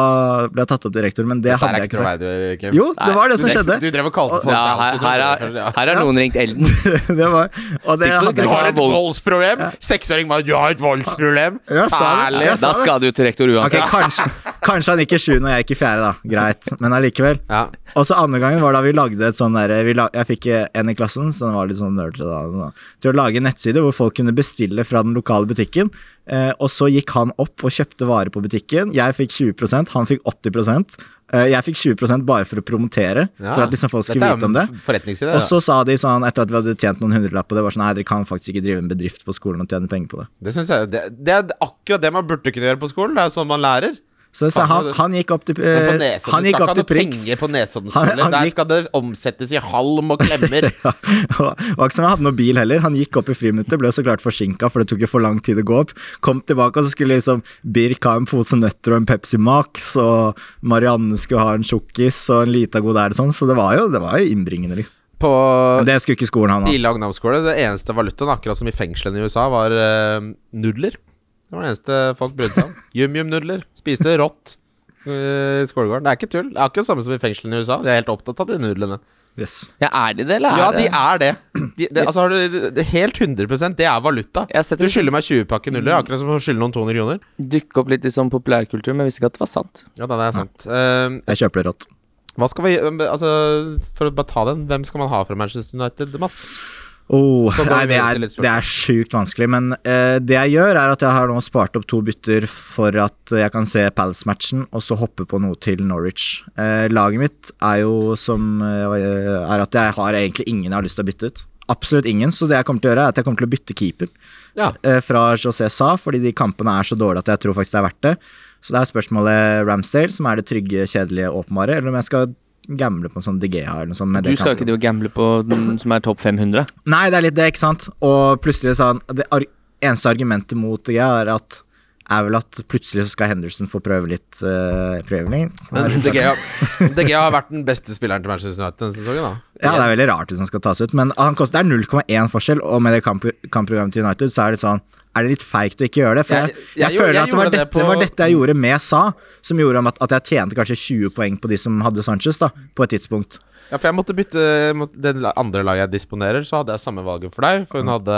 Speaker 2: ble jeg tatt opp til rektor, men det
Speaker 3: Dette
Speaker 2: hadde
Speaker 3: er
Speaker 2: jeg
Speaker 3: ikke
Speaker 2: ikke
Speaker 3: noe
Speaker 2: sagt.
Speaker 3: vei, du, Kim.
Speaker 2: Jo, det var det som
Speaker 3: Du-
Speaker 2: skjedde.
Speaker 3: Du drev og kalte folk
Speaker 4: Ja, her, her, er, her har noen ringt Elden.
Speaker 2: det var, og det
Speaker 4: Sikkert ikke
Speaker 2: hadde
Speaker 3: Du
Speaker 2: jeg
Speaker 3: har
Speaker 2: ikke
Speaker 3: et voldsproblem! Seksåring bare Du har et voldsproblem!
Speaker 2: Ja, sa det.
Speaker 3: Særlig!
Speaker 2: Ja,
Speaker 4: Da skal du til rektor
Speaker 2: Ok,
Speaker 4: uansett.
Speaker 2: kanskje, kanskje han gikk i sjuende og jeg gikk i fjerde, da. Greit, men allikevel.
Speaker 3: Ja.
Speaker 2: Og så andre gangen var da vi lagde et sånn derre vi la- Jeg fikk eh, en i klassen som var litt sånn nerdete da, da, til å lage en nettside hvor folk kunne bestille fra den lokale butikken. Eh, og så gikk han opp og kjøpte varer på butikken. Jeg fikk 20 han fikk 80 eh, Jeg fikk 20 bare for å promotere,
Speaker 3: Ja.
Speaker 2: for at liksom folk skulle
Speaker 3: Dette er
Speaker 2: vite
Speaker 3: jo
Speaker 2: om det.
Speaker 3: en Forretningsidé.
Speaker 2: Og
Speaker 3: da.
Speaker 2: så sa de sånn, etter at vi hadde tjent noen hundrelapp på det, var sånn Nei, dere kan faktisk ikke drive en bedrift på skolen og tjene penger på det.
Speaker 3: Det, synes jeg, det, det er akkurat det man burde kunne gjøre på skolen. Det er jo sånn man lærer.
Speaker 2: Så, så han, han gikk opp til,
Speaker 3: Men på
Speaker 2: eh,
Speaker 3: Nesodden
Speaker 2: han gikk opp
Speaker 3: skal ikke ha
Speaker 2: til
Speaker 3: noe
Speaker 2: Prix.
Speaker 3: penger på Nesodden
Speaker 2: Han-
Speaker 3: skole.
Speaker 2: han
Speaker 3: Der
Speaker 2: gikk-
Speaker 3: skal det omsettes i halm og klemmer.
Speaker 2: Ja, og det var ikke som jeg hadde noe bil heller. Han gikk opp i friminuttet, ble så klart forsinka, for det tok jo for lang tid å gå opp. Kom tilbake, og så skulle liksom Birk ha en pose nøtter og en Pepsi Max, og Marianne skulle ha en tjukkis og en lita god der og sånn, så det var jo, det var jo innbringende, liksom.
Speaker 3: På
Speaker 2: Men det skulle ikke skolen han ha.
Speaker 3: Ila ungdomsskole, det eneste valutaen, akkurat som i fengslene i USA, var eh, nudler. Det var det eneste folk brydde seg om. Yum-yum-nudler. Spiste rått. eh, I skolegården. Det er ikke tull. Det er akkurat samme som i fengslene i USA. De er helt opptatt av de nudlene.
Speaker 2: Yes.
Speaker 4: Ja, er de det, eller
Speaker 3: Ja,
Speaker 4: er
Speaker 3: de
Speaker 4: det
Speaker 3: er det. De, det altså, har du, det- det, helt 100 Det er valuta.
Speaker 4: Jeg setter-
Speaker 3: Du skylder meg 20 pakke nuller, akkurat som å skylde noen 200 kroner.
Speaker 4: Dukke opp litt i sånn populærkultur, men jeg visste ikke at det var sant.
Speaker 3: Ja, da, det er sant. Ehm,
Speaker 2: Jeg kjøper det rått.
Speaker 3: hva skal vi Altså, for å bare ta den, hvem skal man ha fra Manchester United, Mats?
Speaker 2: Oh,
Speaker 3: Så går
Speaker 2: nei, det
Speaker 3: vi videre
Speaker 2: er,
Speaker 3: til litt spørsmål.
Speaker 2: det er sjukt vanskelig, men eh, det jeg gjør, er at jeg har nå spart opp to bytter for at jeg kan se Palace-matchen, og så hoppe på noe til Norwich. Eh, laget mitt er jo som eh, er at jeg har egentlig ingen jeg har lyst til å bytte ut. Absolutt ingen, så det jeg kommer til å gjøre, er at jeg kommer til å bytte keeper
Speaker 3: Ja.
Speaker 2: eh, fra José Sa, fordi de kampene er så dårlige at jeg tror faktisk det er verdt det. Så det er spørsmålet Ramsdale, som er det trygge, kjedelige, åpenbare, eller om jeg skal gamble på en sånn DGH eller noe sånt. men
Speaker 4: Du
Speaker 2: det
Speaker 4: skal
Speaker 2: kan-
Speaker 4: jo ikke drive og gamble på den som er topp 500.
Speaker 2: Nei, det er litt det, ikke sant? Og plutselig sa han Det ar eneste argumentet mot det er at er vel at plutselig så skal Henderson få prøve litt uh, prøve litt.
Speaker 3: Men De Gea, De Gea har vært den beste spilleren til Manchester United denne sesongen, da.
Speaker 2: Ja, det er veldig rart hvis han skal tas ut, men han koster, det er 0,1 forskjell, og med det kamp kampprogrammet til United så er det litt sånn er det litt feigt å ikke gjøre det? For jeg,
Speaker 3: Jeg-
Speaker 2: jeg,
Speaker 3: jeg gjorde-
Speaker 2: føler
Speaker 3: jeg
Speaker 2: at det var,
Speaker 3: gjorde det
Speaker 2: dette,
Speaker 3: på-
Speaker 2: var dette jeg gjorde med Sa, som gjorde at, at jeg tjente kanskje 20 poeng på de som hadde Sanchez, da, på et tidspunkt.
Speaker 3: Ja, for jeg måtte bytte mot det la- andre laget jeg disponerer, så hadde jeg samme valget for deg.
Speaker 2: Mm.
Speaker 3: For hun hadde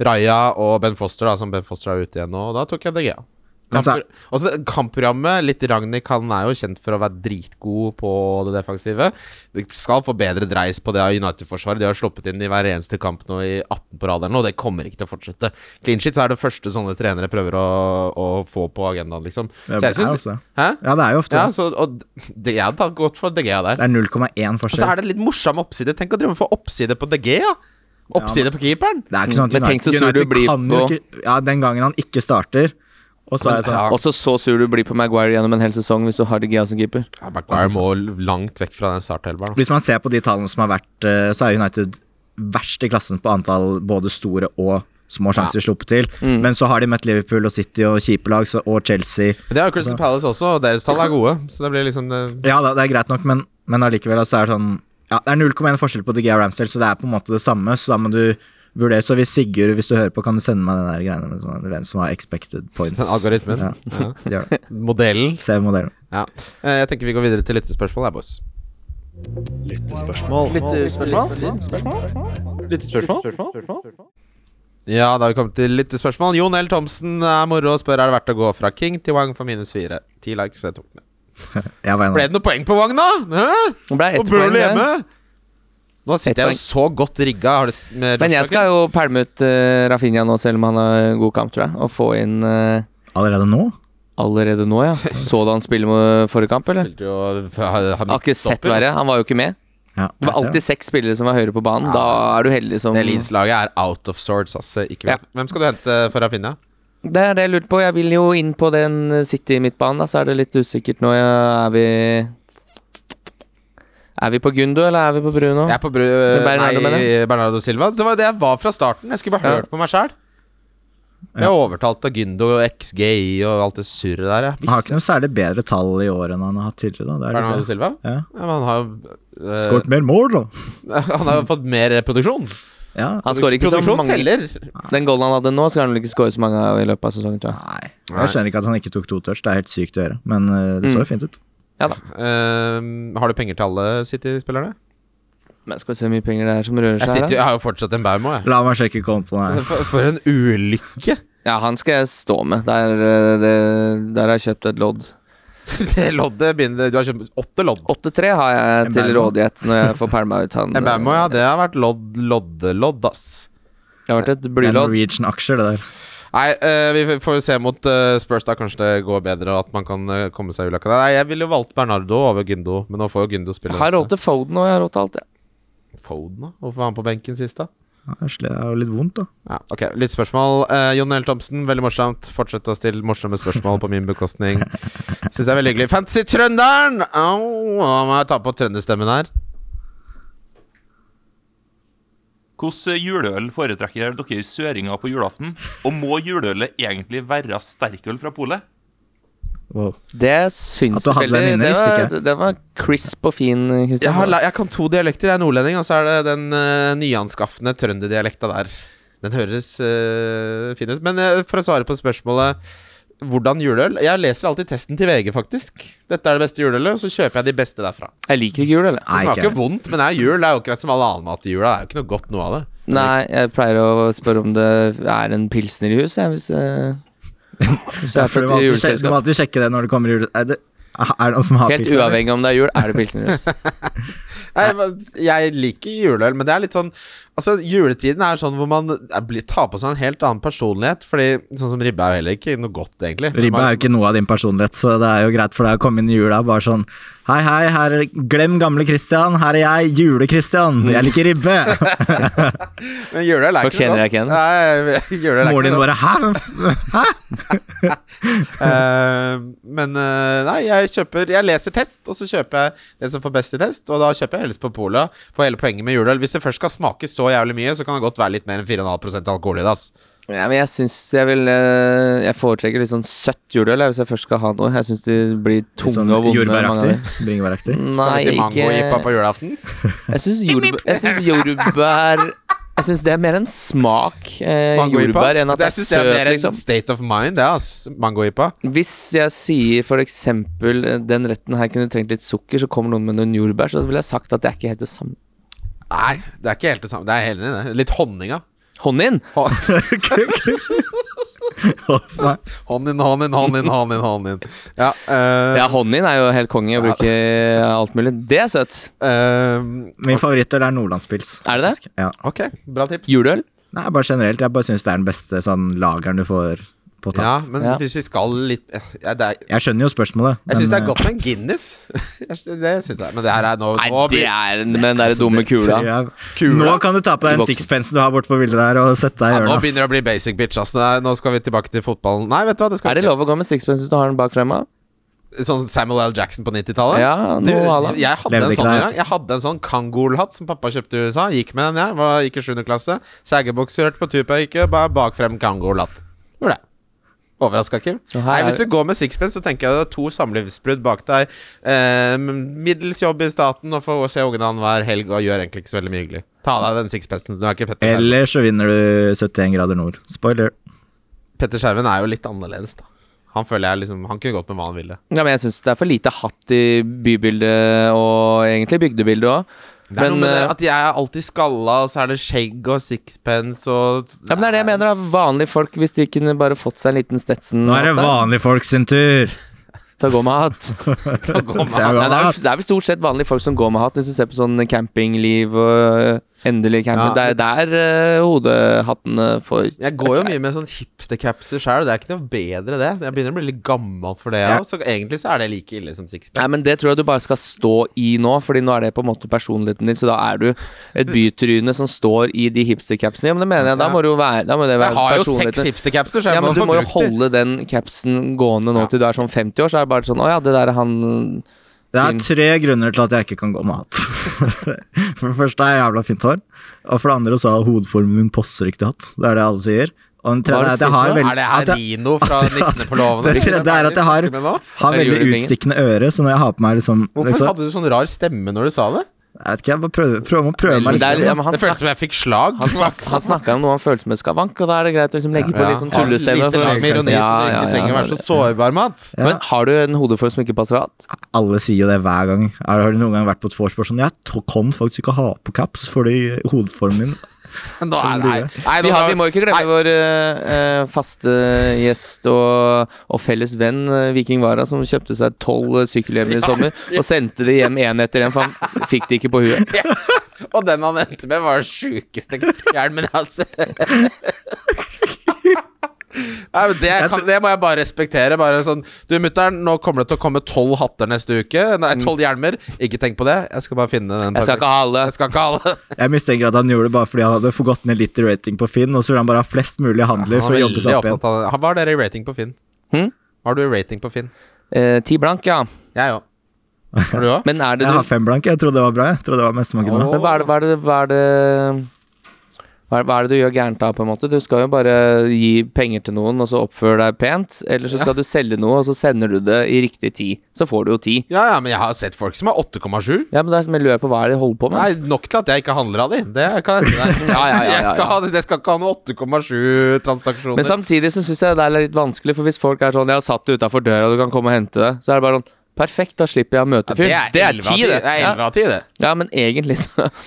Speaker 3: Raja og Ben Foster, da, som Ben Foster er ute igjen nå, og da tok jeg DG.
Speaker 2: Men så-
Speaker 3: Kampro også det- kampprogrammet Litt Ragnhild han er jo kjent for å være dritgod på det defensive. Du skal få bedre dreis på det av United-forsvaret. De har sluppet inn i hver eneste kamp nå i 18 på rad eller noe, og det kommer ikke til å fortsette. Clean shit er det første sånne trenere prøver å, å få på agendaen, liksom. Så
Speaker 2: Det
Speaker 3: jeg
Speaker 2: er jo
Speaker 3: syns
Speaker 2: ofte det.
Speaker 3: Hæ?
Speaker 2: Ja, det er jo ofte
Speaker 3: Ja,
Speaker 2: det.
Speaker 3: så, og det jeg hadde tatt godt for DG der.
Speaker 2: Det er 0,1
Speaker 3: Og så
Speaker 2: forskjell.
Speaker 3: er det en litt morsom oppside. Tenk å drive og få oppside på DG, ja. Oppside på keeperen.
Speaker 2: Det er ikke sånn at
Speaker 4: Mm. Men tenk så sur du blir
Speaker 2: kan jo
Speaker 4: på-
Speaker 2: ikke Ja, den gangen han ikke starter, og så er det sånn
Speaker 3: Ja.
Speaker 4: Også så sur du blir på Maguire gjennom en hel sesong hvis du har De Gea som keeper.
Speaker 3: Ja, Maguire må langt vekk fra den starthelveren.
Speaker 2: Hvis man ser på de tallene som har vært, eh, så er United verst i klassen på antall både store og små sjanser sluppet til.
Speaker 4: Mm.
Speaker 2: Men så har de møtt Liverpool og City og kjipe lag, så- og Chelsea.
Speaker 3: Men det har jo Crystal Palace også, og deres tall er gode. Så det blir liksom eh,
Speaker 2: Ja, da, det er greit nok, men, men allikevel altså, er det sånn ja, Det er 0,1 forskjell på DG og Ramsdale, så det er på en måte det samme. Så da må du vurdere. Så hvis Sigurd, hvis du hører på, kan du sende meg den der greiene med sånn, hvem som har expected points.
Speaker 3: den algoritmen.
Speaker 2: Ja,
Speaker 3: Ja.
Speaker 2: gjør det.
Speaker 3: Modellen.
Speaker 2: Se modellen.
Speaker 3: Ja. Eh, Jeg tenker vi går videre til lyttespørsmål, jeg, boys.
Speaker 5: Lyttespørsmål.
Speaker 3: Ja, da har vi kommet til lyttespørsmål. Jon L. Thomsen er moro og spør er det verdt å gå fra King til Wang for minus fire. Ti likes, jeg tok med.
Speaker 2: Jeg var en av
Speaker 3: Ble det noe poeng på Wang, da? Hæ?
Speaker 4: Det ble ett
Speaker 3: Og Burnley
Speaker 4: poeng der.
Speaker 3: hjemme? Nå sitter jeg jo
Speaker 4: poeng.
Speaker 3: så godt rigga. Har du s- med
Speaker 4: Men jeg
Speaker 3: Rosenborg?
Speaker 4: skal jo pælme ut uh, Rafinha nå, selv om han har en god kamp, tror jeg. Og få inn eh,
Speaker 2: Allerede nå?
Speaker 4: allerede nå, ja. Så du han spille mot eh, forrige kamp, eller?
Speaker 3: Spilte jo har, har
Speaker 4: Jeg har ikke sett
Speaker 3: midtstopper.
Speaker 4: verre. Han var jo ikke med.
Speaker 2: Ja,
Speaker 4: Det var
Speaker 2: jeg ser
Speaker 4: alltid seks spillere som var høyere på banen. Da er du heldig som
Speaker 3: Det Leeds-laget er out of sorts, ass. Ikke
Speaker 4: Ja.
Speaker 3: vet. Hvem skal du hente for Rafinha?
Speaker 4: Det er det jeg lurte på. Jeg vil jo inn på den City-midtbanen, da, så er det litt usikkert nå. Ja, er vi Er vi på Gundo, eller er vi på Bruno?
Speaker 3: Jeg er på bru...
Speaker 4: Bernardo,
Speaker 3: nei,
Speaker 4: mener
Speaker 3: Bernardo Silva. Så det var det jeg var fra starten. Jeg skulle bare
Speaker 4: Ja.
Speaker 3: hørt på meg sjæl. Jeg er overtalt av Gyndo og XGI og alt det surret der.
Speaker 2: Han har
Speaker 3: Jeg visste
Speaker 2: ikke noe særlig bedre tall i år enn han har hatt tidligere. Da. Det er
Speaker 3: Bernardo
Speaker 2: litt,
Speaker 3: Silva.
Speaker 2: ja.
Speaker 3: Ja, men han har jo eh,
Speaker 2: Skåret mer mål, da.
Speaker 3: Han har jo fått mer produksjon.
Speaker 2: Ja.
Speaker 4: Han skårer ikke så
Speaker 3: Produksjon
Speaker 4: mange
Speaker 3: teller.
Speaker 4: Den goalen han hadde nå, skal han vel ikke skåre så mange av i løpet av sesongen, tror jeg.
Speaker 2: Nei.
Speaker 3: Nei.
Speaker 2: Jeg skjønner ikke at han ikke tok to touch. Det er helt sykt å gjøre, men eh, det så jo fint ut.
Speaker 3: Eh, har du penger til alle City-spillerne?
Speaker 4: Men skal vi se hvor mye penger det er som rører
Speaker 3: Jeg,
Speaker 4: seg
Speaker 3: sitter,
Speaker 4: her, da?
Speaker 3: jeg har jo fortsatt en Baumo, jeg.
Speaker 2: La meg sjekke kontoen her.
Speaker 3: For, for en ulykke!
Speaker 4: Ja, han skal jeg stå med. Der, eh, det, der har jeg kjøpt et lodd.
Speaker 3: Det loddet begynner Du har kjøpt åtte lodd.
Speaker 4: 8-3 har jeg
Speaker 2: En
Speaker 4: til
Speaker 2: Baumo?
Speaker 4: rådighet når jeg får pælma ut han.
Speaker 3: En Baumo, ja. Det har vært lodd, loddelodd, ass.
Speaker 4: Det har vært et
Speaker 2: Det er
Speaker 4: blylodd.
Speaker 2: Norwegian-aksjer, det der.
Speaker 3: Nei, eh, vi får jo se mot eh, Spurs, da. Kanskje det går bedre, og at man kan eh, komme seg i ulykka. Nei, jeg ville jo valgt Bernardo over Gyndo, men nå får jo Gyndo spille.
Speaker 4: Jeg har råd til Foden og jeg har råd til alt, jeg.
Speaker 3: neste. Foden, da? Hvorfor var han på benken sist, da?
Speaker 2: Ja, det er jo litt vondt, da.
Speaker 3: Ja, ok, Litt spørsmål. Eh, Jon L. Thomsen, veldig morsomt. Fortsett å stille morsomme spørsmål på min bekostning. Syns jeg er veldig hyggelig. Fantasy Trønderen! Au, å, må jeg ta på trønderstemmen her?
Speaker 5: Hvordan juleøl foretrekker dere søringer på julaften? Og må juleølet egentlig være sterkøl fra polet?
Speaker 2: Wow.
Speaker 4: Det syns
Speaker 2: At du hadde
Speaker 4: veldig-
Speaker 2: den inne,
Speaker 4: det
Speaker 2: visste
Speaker 4: var-
Speaker 2: ikke jeg.
Speaker 4: Det var crisp og fin, Kristian.
Speaker 3: Jeg, har, la- jeg kan to dialekter. Jeg er nordlending, og så er det den uh, nyanskaffende trønderdialekta der. Den høres eh, fin ut. Men eh, for å svare på spørsmålet hvordan juleøl Jeg leser alltid testen til VG, faktisk. Dette er det beste juleølet, og så kjøper jeg de beste derfra.
Speaker 4: Jeg liker ikke jul, eller?
Speaker 2: Nei,
Speaker 3: Det smaker
Speaker 2: ikke
Speaker 3: jo vondt, men det er jul. Det er jo akkurat som all annen mat i jula. Det er jo ikke noe godt noe av det.
Speaker 4: Nei, jeg pleier å spørre om det er en pilsner i huset, jeg, hvis eh, Hvis jeg er
Speaker 2: For du, må alltid sjekke, du
Speaker 4: på et
Speaker 2: må
Speaker 4: juleselskap.
Speaker 2: alltid sjekke det når det kommer jul... Er det, er det noen som har
Speaker 4: Helt
Speaker 2: pils, eller?
Speaker 4: uavhengig om det er jul, er det pilsner i huset.
Speaker 3: Nei, men jeg liker juleøl, men det er litt sånn Altså, juletiden er sånn hvor man eh, blir- tar på seg en helt annen personlighet. Fordi sånn som ribbe er jo heller ikke noe godt, egentlig.
Speaker 2: Ribba er jo ikke noe av din personlighet, så det er jo greit for deg å komme inn i jula bare sånn Hei, hei, her er, glem gamle Christian, her er jeg, jule-Christian, jeg liker ribbe.
Speaker 3: Men juleøl er
Speaker 4: Folk
Speaker 3: ikke noe godt.
Speaker 4: kjenner deg ikke igjen.
Speaker 3: Nei, juleøl er
Speaker 2: Moren
Speaker 3: ikke
Speaker 2: din
Speaker 3: noe godt.
Speaker 2: bare Hæ? hvem f-
Speaker 3: Eh, men eh, nei, jeg kjøper Jeg leser test, og så kjøper jeg det som får best i test. Og da kjøper jeg helst på Polet. For hele poenget med juleøl Hvis det først skal smake så jævlig mye, så kan det godt være litt mer enn 4,5 alkohol i det. ass.
Speaker 4: Ja, men jeg syns jeg vil eh, Jeg foretrekker litt sånn søtt juleøl jeg, hvis jeg først skal ha noe. Jeg syns de blir tunge
Speaker 2: Sånn
Speaker 4: og vonde. mange av
Speaker 2: jordbæraktig.
Speaker 4: de.
Speaker 2: Bringebæraktig.
Speaker 4: Nei,
Speaker 3: Skal vi til mango-jippa
Speaker 4: ikke
Speaker 3: på julaften?
Speaker 4: Jeg syns jordbær Jeg syns jordbær Jeg synes det er mer en smak eh,
Speaker 3: Mango-jippa?
Speaker 4: jordbær enn at det
Speaker 3: Jeg
Speaker 4: er
Speaker 3: synes det
Speaker 4: søt,
Speaker 3: er mer en
Speaker 4: liksom.
Speaker 3: state of mind, det, ass. Mango-jippa.
Speaker 4: Hvis jeg sier for eksempel eh, den retten her kunne trengt litt sukker, så kommer noen med noen jordbær, så ville jeg sagt at det er ikke helt det samme.
Speaker 3: Nei, det er ikke helt det samme. Det er jeg helt enig i det. Litt honning, da.
Speaker 4: Honnin!
Speaker 2: Huff, nei.
Speaker 3: Honning, honning, honning, honning. honning. Ja, eh,
Speaker 4: Ja, honnin er jo helt konge å bruke alt mulig. Det er søtt.
Speaker 3: eh,
Speaker 2: Min favorittøl er nordlandspils.
Speaker 4: Er det det?
Speaker 2: faktisk. Ja.
Speaker 3: ok, bra tips.
Speaker 4: Juleøl?
Speaker 2: Nei, bare generelt. Jeg bare syns det er den beste sånn lageren du får på tapp.
Speaker 3: Ja, men
Speaker 4: Ja.
Speaker 3: hvis vi skal litt eh, ja, det er,
Speaker 2: Jeg skjønner jo spørsmålet.
Speaker 3: Jeg syns det
Speaker 2: men, eh,
Speaker 3: er godt med en Guinness. Jeg sy- det syns jeg. Men det her er nå,
Speaker 4: Nei,
Speaker 3: nå
Speaker 4: det
Speaker 3: blir-
Speaker 4: er med den der
Speaker 2: eh,
Speaker 4: dumme kula.
Speaker 2: jeg-
Speaker 3: Kula?
Speaker 2: Nå kan du ta på deg
Speaker 4: I
Speaker 2: den
Speaker 4: boksen.
Speaker 2: sixpencen du har borte på bildet der, og sette deg i
Speaker 3: ja, nå
Speaker 2: hjørnet.
Speaker 3: begynner det å bli basic bitch, ass. Nei, Nå skal vi tilbake til fotballen. Nei, vet du hva, det skal
Speaker 4: Er det lov å gå med sixpence hvis du har den bak fremme?
Speaker 3: ikke. Sånn Samuel L. Jackson på 90-tallet.
Speaker 4: Ja, noe
Speaker 3: Du,
Speaker 4: à la.
Speaker 3: jeg hadde
Speaker 2: Levde
Speaker 3: en
Speaker 2: ikke
Speaker 3: sånn
Speaker 2: der.
Speaker 3: en gang. Jeg hadde en sånn kangolhatt som pappa kjøpte i USA. Gikk med den, jeg. Var, gikk i 7. klasse. Saggebokser, hørte på tupaøyke, bare bak frem kangolhatt. Gjorde det. Overraska, Kim?
Speaker 4: Og her
Speaker 3: Nei,
Speaker 4: er-
Speaker 3: hvis du går med sixpence, så tenker jeg det er to samlivsbrudd bak deg. Eh, middels jobb i staten og får se ungene annenhver helg og gjør egentlig ikke så veldig mye hyggelig. Ta av deg den sixpencen. Du er ikke Petter Skjerven.
Speaker 2: Eller så vinner du 71 grader nord. Spoiler.
Speaker 3: Petter Skjerven er jo litt annerledes, da. Han føler jeg liksom Han kunne gått med hva han ville.
Speaker 4: Ja, men jeg syns det er for lite hatt i bybildet, og egentlig bygdebildet òg.
Speaker 3: Det er
Speaker 4: Men,
Speaker 3: noe med det
Speaker 4: eh,
Speaker 3: at jeg er alltid skalla, og så er det skjegg og sixpence og
Speaker 4: Ja, men det er det jeg mener. da Vanlige folk, hvis de kunne bare fått seg en liten Stetson
Speaker 2: Nå er det
Speaker 4: hatt der,
Speaker 2: vanlige folk sin tur!
Speaker 4: til å gå med hatt.
Speaker 2: Det er
Speaker 4: Nei, det, er,
Speaker 2: vanlig.
Speaker 4: vel- det er vel stort sett vanlige folk som går med hatt, hvis du ser på sånn campingliv og eh, endelig camping.
Speaker 3: Ja.
Speaker 4: det er der eh, hodehattene får
Speaker 3: Jeg går jo mye med sånn hipstercapser sjøl, det er ikke noe bedre det. Jeg begynner å bli litt gammel for det
Speaker 2: Ja.
Speaker 3: òg, så egentlig så er det like ille som sixpence.
Speaker 4: Nei, men Det tror jeg du bare skal stå i nå, Fordi nå er det på en måte personligheten din. Så da er du et bytryne som står i de hipstercapsene. Ja, men det mener jeg, da må, det jo være, da må det
Speaker 3: jeg
Speaker 4: være
Speaker 3: har jo seks
Speaker 4: personligheten.
Speaker 3: hipstercapser, så jeg
Speaker 4: Ja,
Speaker 3: må
Speaker 4: men Du
Speaker 3: få
Speaker 4: må jo
Speaker 3: brukt dem.
Speaker 4: holde den capsen gående nå
Speaker 3: Ja.
Speaker 4: til du er sånn 50 år. Så er det bare sånn Å ja, det der er han
Speaker 2: Det er
Speaker 4: Fin.
Speaker 2: tre grunner til at jeg ikke kan gå med hatt. for det første er jeg jævla fint hår. Og for det andre så har hodeformen min passer ikke til hatt. Det er det alle sier. Og den
Speaker 4: Hva
Speaker 2: tredje er
Speaker 4: er det
Speaker 2: at jeg
Speaker 4: du sier
Speaker 2: har
Speaker 4: for
Speaker 2: veldig
Speaker 3: Er
Speaker 4: noe?
Speaker 3: det her
Speaker 2: at jeg-
Speaker 3: Dino fra
Speaker 2: at jeg-
Speaker 3: Nissene på låven?
Speaker 2: Det tredje er at jeg har, har
Speaker 4: Eller
Speaker 2: veldig
Speaker 4: julepenger.
Speaker 2: utstikkende øre, så når jeg har på meg liksom,
Speaker 3: Hvorfor
Speaker 2: liksom
Speaker 3: hadde du sånn rar stemme når du sa det?
Speaker 2: Jeg vet ikke, jeg bare prøver, prøver å prøve meg
Speaker 4: Men
Speaker 2: litt.
Speaker 4: det er, ja, men han
Speaker 3: Det føltes
Speaker 4: snak-
Speaker 3: som jeg fikk slag.
Speaker 4: han snak- han snakka om noe han følte som et skavank, og da er det greit å liksom legge på
Speaker 3: Ja,
Speaker 4: litt sånn
Speaker 3: ha
Speaker 4: tullestemme.
Speaker 3: Litt
Speaker 4: for-
Speaker 3: lag med ironi, så du
Speaker 4: Ja, ja,
Speaker 3: ikke
Speaker 4: ja,
Speaker 3: trenger å være
Speaker 4: det-
Speaker 3: så sårbar, Mats.
Speaker 2: Ja.
Speaker 4: Men har du en hodeform som ikke passer hatt?
Speaker 2: Alle sier jo det hver gang. Har du noen gang vært på et vorspiel sånn Jeg tro- kan faktisk ikke ha på caps fordi hodeformen min
Speaker 3: Nå er- Nei, nei,
Speaker 4: Vi,
Speaker 3: nå
Speaker 4: har,
Speaker 3: har-
Speaker 4: vi må ikke glemme
Speaker 3: Nei.
Speaker 4: vår eh, eh, faste gjest og, og felles venn eh, Viking Vara, som kjøpte seg tolv eh, sykkelhjelmer i sommer og sendte det hjem én etter én, for han fikk det ikke på huet.
Speaker 3: Og den han endte med, var den sjukeste altså. hjelmen jeg har sett. Nei, men det, kan, det må jeg bare respektere. Bare sånn, du mutter'n, nå kommer det til å komme tolv hatter neste uke. Nei,
Speaker 2: Mm.
Speaker 3: tolv hjelmer. Ikke tenk på det. Jeg skal bare finne den.
Speaker 4: Jeg skal ikke ha alle.
Speaker 3: Jeg skal ikke ha alle.
Speaker 2: Jeg mistenker at han gjorde det bare fordi han hadde fått ned litt i rating på Finn, og så ville han bare ha flest mulig handler
Speaker 3: Han
Speaker 2: for å
Speaker 3: er
Speaker 2: jobbe
Speaker 3: veldig
Speaker 2: seg opp igjen.
Speaker 3: opptatt av det. Hva har dere i rating på Finn?
Speaker 4: Hm?
Speaker 3: Har du i rating på Finn?
Speaker 4: Eh, ti blank, ja.
Speaker 3: Jeg òg. Har du òg?
Speaker 4: Men er det
Speaker 2: Jeg har
Speaker 4: du
Speaker 2: fem blank. Jeg trodde det var bra. Jeg trodde det var mestemanken nå.
Speaker 4: Men hva er det, hva er det, hva er det hva er, hva er det du gjør gærent av, på en måte? Du skal jo bare gi penger til noen, og så oppføre deg pent. Eller så skal du selge noe, og så sender du det i riktig tid. Så får du jo ti.
Speaker 3: Ja, ja, men jeg har sett folk som har 8,7.
Speaker 4: Ja, men da lurer jeg på hva er det de holder på med?
Speaker 3: Nei, nok til at jeg ikke handler av de. Det kan jeg si deg.
Speaker 4: Ja, ja, ja, ja,
Speaker 3: Jeg skal,
Speaker 4: ja.
Speaker 3: ha- jeg skal ikke ha noe 8,7 transaksjoner.
Speaker 4: Men samtidig så syns jeg det er litt vanskelig, for hvis folk er sånn 'Jeg har satt det utafor døra, du kan komme og hente det', så er det bare sånn Perfekt, da slipper jeg å møte fyren.
Speaker 3: Ja,
Speaker 4: det er
Speaker 3: 11 av
Speaker 4: ti,
Speaker 3: 10,
Speaker 4: det.
Speaker 3: Det er 11
Speaker 4: Ja.
Speaker 3: av 10, det.
Speaker 4: ja, men egentlig så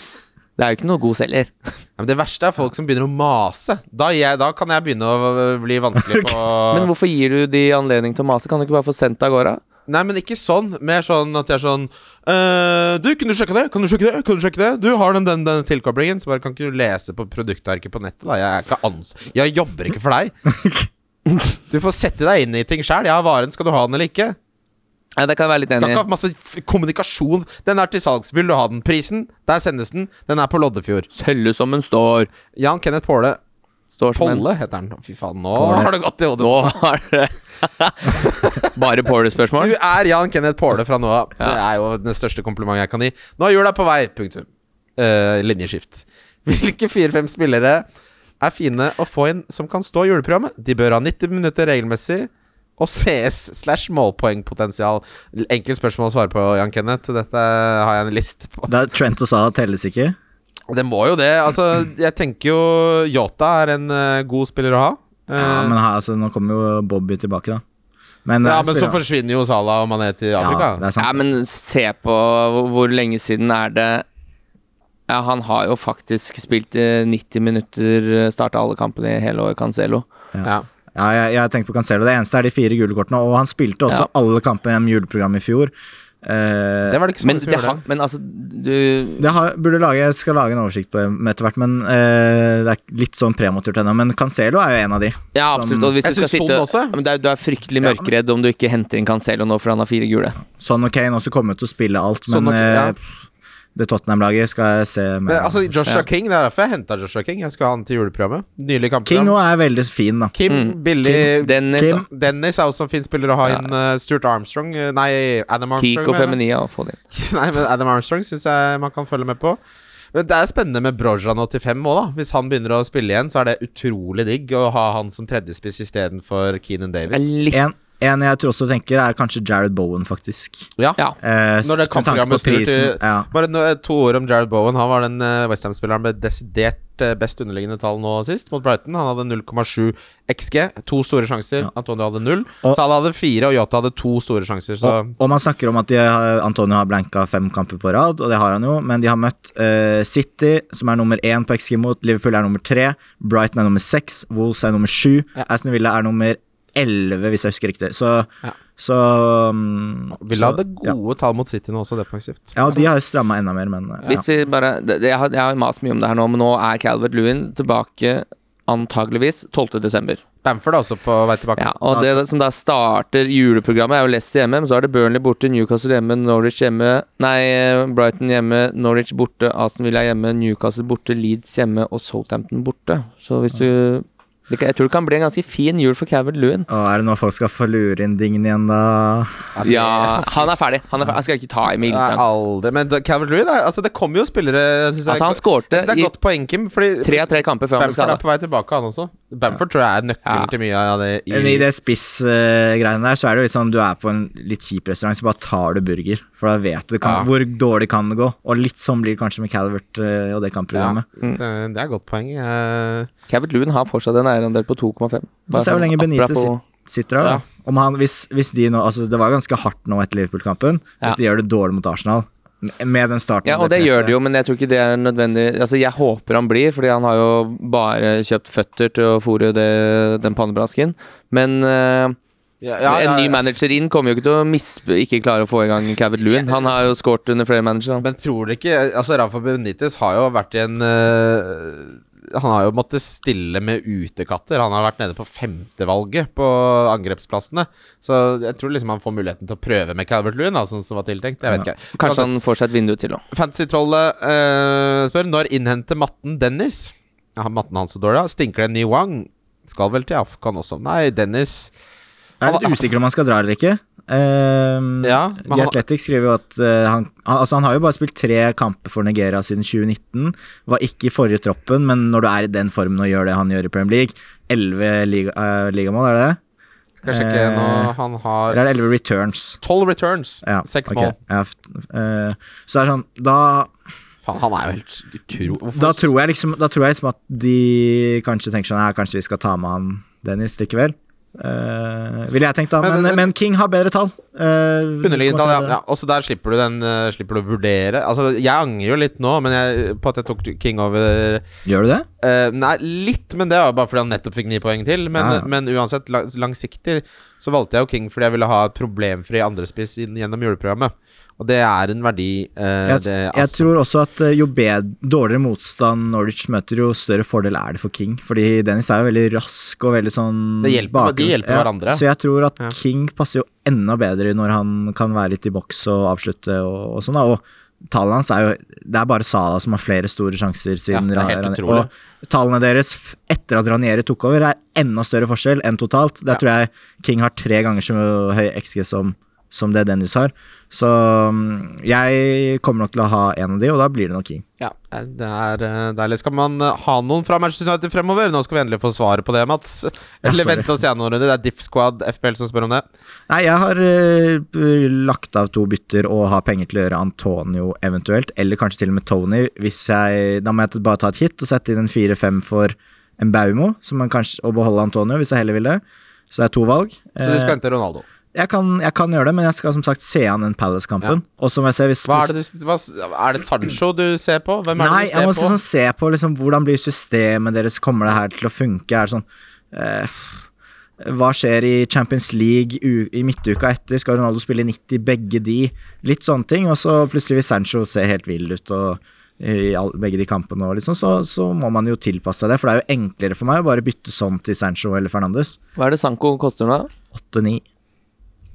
Speaker 4: Det er jo ikke noe god selger.
Speaker 3: Ja, men det verste er folk som begynner å mase. Da, gir jeg, da kan jeg begynne å øh, bli vanskelig på
Speaker 4: Men hvorfor gir du de anledning til å mase? Kan du ikke bare få sendt det av gårde?
Speaker 3: Nei, men ikke sånn. Mer sånn at jeg er sånn «Øh, Du, kunne du sjekke det? Kan du sjekke det? Kan du sjekke det? Du har den, den, den tilkoblingen. Så bare kan ikke du lese på produktarket på nettet, da. Jeg er ikke ans... Jeg jobber ikke for deg. Du får sette deg inn i ting sjæl. Jeg har varen. Skal du ha den eller ikke?
Speaker 4: Ja, det kan jeg være litt
Speaker 3: Skal
Speaker 4: enig i.
Speaker 3: ikke ha masse f- kommunikasjon. Den er til salgs. Vil du ha den? Prisen? Der sendes den. Den er på Loddefjord.
Speaker 4: Selge som hun står.
Speaker 3: Jan Kenneth Påle.
Speaker 4: Står som en
Speaker 3: Polle heter han. Fy faen, nå
Speaker 2: Påle.
Speaker 3: har det gått i hodet.
Speaker 4: Nå er det Bare
Speaker 3: Du
Speaker 4: Porter-spørsmål?
Speaker 3: er Jan Kenneth Påle fra nå av. Det er jo den største komplimenten jeg kan gi. Nå er jula på vei. Punktum. Eh, linjeskift. Hvilke fire-fem spillere er fine å få inn som kan stå i juleprogrammet? De bør ha 90 minutter regelmessig. Og CS slash målpoengpotensial. Enkelt spørsmål å svare på, Jan Kenneth. Dette har jeg en liste på.
Speaker 2: Da Trent og Saha telles ikke.
Speaker 3: Det må jo det. Altså, jeg tenker jo Yota er en eh, god spiller å ha. Eh,
Speaker 2: Ja, men her, altså, nå kommer jo Bobby tilbake, da. Men,
Speaker 3: ja,
Speaker 2: jeg
Speaker 3: men så
Speaker 2: spiller-
Speaker 3: forsvinner jo Salah og Mané til Afrika.
Speaker 2: Ja, det er sant.
Speaker 4: Ja, men se på hvor- hvor lenge siden er det ja, Han har jo faktisk spilt eh, 90 minutter, starta alle kampene i hele år, Cancelo.
Speaker 3: Ja.
Speaker 2: Ja, jeg, jeg tenkte på Cancelo. Det eneste er de fire gule kortene. Og han spilte også
Speaker 4: Ja.
Speaker 2: alle kampene gjennom juleprogrammet i fjor. Eh,
Speaker 3: Det var det ikke så
Speaker 4: Men,
Speaker 3: mange som
Speaker 4: det
Speaker 3: gjorde.
Speaker 4: har, men altså, du
Speaker 2: Det har, burde lage, jeg skal lage en oversikt på det med etter hvert, men eh, det er litt sånn prematurt ennå. Men Cancelo er jo en av de.
Speaker 4: Ja, absolutt. Og hvis
Speaker 3: Jeg
Speaker 4: du skal
Speaker 3: synes
Speaker 4: sitte
Speaker 3: Son også.
Speaker 4: ja, men du, er, du er fryktelig mørkredd om du ikke henter inn Cancelo nå, for han har fire gule.
Speaker 2: Sånn og Kane også kommer til å spille alt, men
Speaker 3: Sånn og Kane, ja.
Speaker 2: eh, det Tottenham-laget skal jeg se mer
Speaker 3: Men,
Speaker 2: om.
Speaker 3: altså, Joshua King, det er derfor jeg henta Joshua King. Jeg skal ha han til juleprogrammet. Nylig
Speaker 2: King
Speaker 3: kampprogram.
Speaker 2: òg er veldig fin, da.
Speaker 3: Kim, billig
Speaker 4: Mm. Dennis,
Speaker 2: Kim.
Speaker 3: Dennis er også en fin spiller å ha
Speaker 4: Ja.
Speaker 3: inn. eh, Stuart Armstrong eh, Nei, Adam Armstrong.
Speaker 4: Kik og
Speaker 3: mener jeg.
Speaker 4: Feminia, og få det inn.
Speaker 3: Nei, men Adam Armstrong syns jeg man kan følge med på. Men Det er spennende med Brojan 85 òg, da. Hvis han begynner å spille igjen, så er det utrolig digg å ha han som tredjespiss istedenfor Keenan
Speaker 4: Jeg
Speaker 3: Davis.
Speaker 4: er litt
Speaker 2: En, en jeg tror også tenker, er kanskje Jared Bowen, faktisk.
Speaker 3: Ja.
Speaker 4: Ja.
Speaker 2: Eh,
Speaker 3: Når det
Speaker 2: med tanke på
Speaker 3: kampprogrammet snur til
Speaker 2: prisen, ja.
Speaker 3: Bare no, to ord om Jared Bowen. Han var den eh, West Ham-spilleren med desidert eh, best underliggende tall nå sist, mot Brighton. Han hadde 0,7 XG. To store sjanser. Antonio hadde null.
Speaker 2: Og-
Speaker 3: Salah hadde fire, og Yota hadde to store sjanser, så
Speaker 2: Og, og man snakker om at de, har- Antonio har blanka fem kamper på rad, og det har han jo, men de har møtt eh, City, som er nummer én på XG mot, Liverpool er nummer tre, Brighton er nummer seks, Wolves er nummer sju, Aston Villa er nummer elleve, hvis jeg husker riktig. Så, så mm,
Speaker 3: Villa
Speaker 2: så-
Speaker 3: hadde gode tall mot City nå også, defensivt.
Speaker 2: Ja, ja og de har jo stramma enda mer, men eh,
Speaker 4: Hvis vi bare det- det- Jeg har, jeg har mast mye om det her nå, men nå er Calvert Lewin tilbake antageligvis 12. desember.
Speaker 3: Bamford er også på vei tilbake.
Speaker 4: Ja, og det som da starter juleprogrammet, er jo Leicester hjemme, men så er det Burnley borte, Newcastle hjemme, Norwich hjemme Nei, Brighton hjemme, Norwich borte, Aston Villa hjemme, Newcastle borte, Leeds hjemme og Southampton borte. Så hvis du Det kan- Jeg tror det kan bli en ganske fin jul for Calvert Lewin.
Speaker 2: Å, er det nå folk skal få lure inn dingen igjen, da?
Speaker 4: Ja, han er ferdig. Han er ferdig. Jeg skal ikke ta Emil.
Speaker 3: Nei,
Speaker 4: Lind.
Speaker 3: aldri. Men da- Calvert Lewin er- altså, Det kommer jo spillere synes jeg,
Speaker 4: Altså, han skårte
Speaker 3: Jeg synes Det
Speaker 4: i
Speaker 3: er godt poeng, Kim. Fordi
Speaker 4: Tre av tre kamper før han ble
Speaker 3: Bamford er
Speaker 4: skada.
Speaker 3: på vei tilbake, han også. Bamford tror jeg er nøkkelen
Speaker 4: Ja.
Speaker 3: til mye av det.
Speaker 2: Men I det spissgreiene der, så er det jo litt sånn du er på en litt kjip restaurant, så bare tar du burger. For da vet du kan,
Speaker 3: Ja.
Speaker 2: hvor dårlig kan det gå. Og litt sånn blir det kanskje med Calvert eh, og det kampprogrammet.
Speaker 3: det, det er et godt poeng. eh.
Speaker 4: Calvert Lewin har fortsatt en eierandel på 2,5.
Speaker 2: Vi får se hvor lenge
Speaker 4: Bare sånn
Speaker 2: Benitez
Speaker 4: apropos-
Speaker 2: sit- sitter der. da. Om han, hvis, hvis de nå, altså Det var ganske hardt nå etter Liverpool-kampen.
Speaker 4: Ja.
Speaker 2: Hvis de gjør det dårlig mot Arsenal, m- med den starten
Speaker 4: Ja, og det gjør det jo, men jeg tror ikke det er nødvendig Altså, jeg håper han blir, fordi han har jo bare kjøpt føtter til å fôre det, den pannebrasken. Men eh,
Speaker 3: Ja, ja,
Speaker 4: en ny
Speaker 3: ja.
Speaker 4: manager inn kommer jo ikke til å mispe, ikke klare å få i gang Cavett Lewin. Han har jo skåret under flere managere. han.
Speaker 3: Men tror dere ikke Altså, Rafa Benitez har jo vært i en eh, Han har jo måttet stille med utekatter. Han har vært nede på femtevalget på angrepsplassene. Så jeg tror liksom han får muligheten til å prøve med Calvert Lewin, da, sånn som var tiltenkt. Jeg vet ikke. Altså,
Speaker 4: Kanskje han får seg et vindu til òg.
Speaker 3: Fantasy-trollet eh, spør når innhenter matten Dennis? Ja, matten hans så dårlig, da. Stinker det en ny Wang? Skal vel til Afghan også. Nei, Dennis
Speaker 2: Jeg er litt usikker om han skal dra eller ikke. Ehm,
Speaker 3: Ja, men
Speaker 2: The
Speaker 3: han-
Speaker 2: Athletic skriver jo at eh, han, han, altså han har jo bare spilt tre kamper for Nigeria siden 2019. Var ikke i forrige troppen, men når du er i den formen og gjør det han gjør i Premier League Elleve liga, eh, ligamål, er det det?
Speaker 3: Skal jeg sjekke
Speaker 2: Eh,
Speaker 3: nå. Han har
Speaker 2: Eller er det elleve returns?
Speaker 3: tolv returns.
Speaker 2: Ja,
Speaker 3: Seks
Speaker 2: ok.
Speaker 3: mål.
Speaker 2: Ja, f- eh, så det er sånn Da,
Speaker 3: Faen, han er jo helt utro... Hvorfor-
Speaker 2: da, tror jeg liksom, da tror jeg liksom at de kanskje tenker sånn Ja, kanskje vi skal ta med han Dennis likevel. Eh, ville jeg tenkt, da.
Speaker 3: Men-
Speaker 2: Men, men, King har bedre tall. Uh,
Speaker 3: Underliggende tall, ja. ja. Også der slipper du den eh, Slipper du å vurdere. Altså, jeg angrer jo litt nå men jeg, på at jeg tok King over
Speaker 2: Gjør du det?
Speaker 3: Eh, nei, litt, men det var jo bare fordi han nettopp fikk ni poeng til. Men,
Speaker 2: Ja, ja.
Speaker 3: men uansett, lang- langsiktig så valgte jeg jo King fordi jeg ville ha et problemfri andrespiss inn gjennom juleprogrammet. Og det er en verdi. eh,
Speaker 2: Jeg,
Speaker 3: det,
Speaker 2: jeg
Speaker 3: altså.
Speaker 2: tror også at eh, jo bed, dårligere motstand Norwich møter, jo større fordel er det for King. Fordi Dennis er jo veldig rask og veldig sånn
Speaker 3: Det hjelper-
Speaker 2: bakgrunns-
Speaker 3: de hjelper hverandre.
Speaker 2: Så jeg tror at
Speaker 3: Ja.
Speaker 2: King passer jo enda bedre når han kan være litt i boks og avslutte og, og sånn. da Og tallene hans er jo Det er bare Sala som har flere store sjanser siden
Speaker 3: Ja, det er helt
Speaker 2: Ranieri-
Speaker 3: utrolig.
Speaker 2: Og tallene deres f- etter at Ranieri tok over, er enda større forskjell enn totalt. Der
Speaker 3: Ja.
Speaker 2: tror jeg King har tre ganger så høy XG som som det Dennis har. Så mm, jeg kommer nok til å ha en av de, og da blir det nok King.
Speaker 3: ja, det er eh, deilig. Skal man eh, ha noen fra Manchester United fremover? Nå skal vi endelig få svaret på det, Mats. Eller
Speaker 2: sorry.
Speaker 3: vent oss igjen noen runder. Det er Diff Squad FPL som spør om det.
Speaker 2: Nei, jeg har eh, b- lagt av to bytter og har penger til å gjøre Antonio eventuelt, eller kanskje til og med Tony. Hvis jeg, da må jeg bare ta et hit og sette inn en 4-5 for en Baumo, som man kanskje, og beholde Antonio hvis jeg heller vil det. Så det er to valg.
Speaker 3: Så du
Speaker 2: Eh,
Speaker 3: skal hente Ronaldo.
Speaker 2: jeg, kan, jeg kan gjøre det, men jeg skal som sagt se an den Palace-kampen. Og så må jeg se hvis
Speaker 3: Hva er, det du, hva, er det Sancho du ser på? Hvem er
Speaker 2: Nei, jeg
Speaker 3: det du ser
Speaker 2: må
Speaker 3: på?
Speaker 2: liksom se på liksom, hvordan blir systemet deres, kommer det her til å funke? Er det sånn eh, Hva skjer i Champions League u i midtuka etter? Skal Ronaldo spille 90 begge de? Litt sånne ting. Og så plutselig, hvis Sancho ser helt vill ut og i all, begge de kampene, og liksom, så, så må man jo tilpasse seg det. For det er jo enklere for meg å bare bytte sånn til Sancho eller Fernandes.
Speaker 4: Hva er det Sanko koster nå?
Speaker 2: 8-9.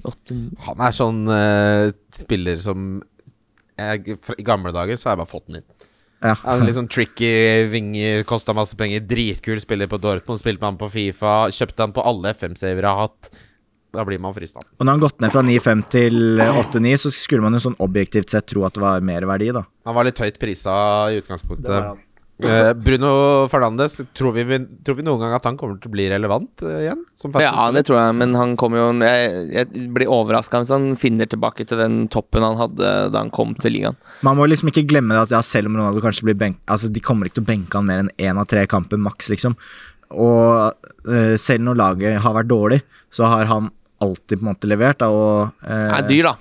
Speaker 4: Åtte-
Speaker 3: Han er sånn eh, spiller som jeg, fra- I gamle dager så har jeg bare fått den inn.
Speaker 2: Ja.
Speaker 3: Han er litt sånn tricky vinge, kosta masse penger, dritkul spiller på Dortmund, spilte med han på Fifa, kjøpte han på alle FM-savere jeg har hatt. Da blir man frista.
Speaker 2: Og når han gått ned fra 9-5 til eh, 8-9, så skulle man jo sånn objektivt sett tro at det var mer verdi, da.
Speaker 3: Han var litt høyt prisa i utgangspunktet. Eh, Bruno Fernandes, tror vi, vi- tror vi noen gang at han kommer til å bli relevant eh, igjen? Som
Speaker 4: Ja,
Speaker 3: fantasy-spiller?
Speaker 4: det tror jeg, men han kommer jo Jeg, jeg blir overraska hvis han finner tilbake til den toppen han hadde da han kom til ligaen.
Speaker 2: Man må liksom ikke glemme det at ja, selv om Ronaldo kanskje blir benk... Altså, de kommer ikke til å benke han mer enn én av tre kamper maks, liksom. Og eh, selv når laget har vært dårlig, så har han alltid på en måte levert, da, og eh,
Speaker 4: Han er dyr, da.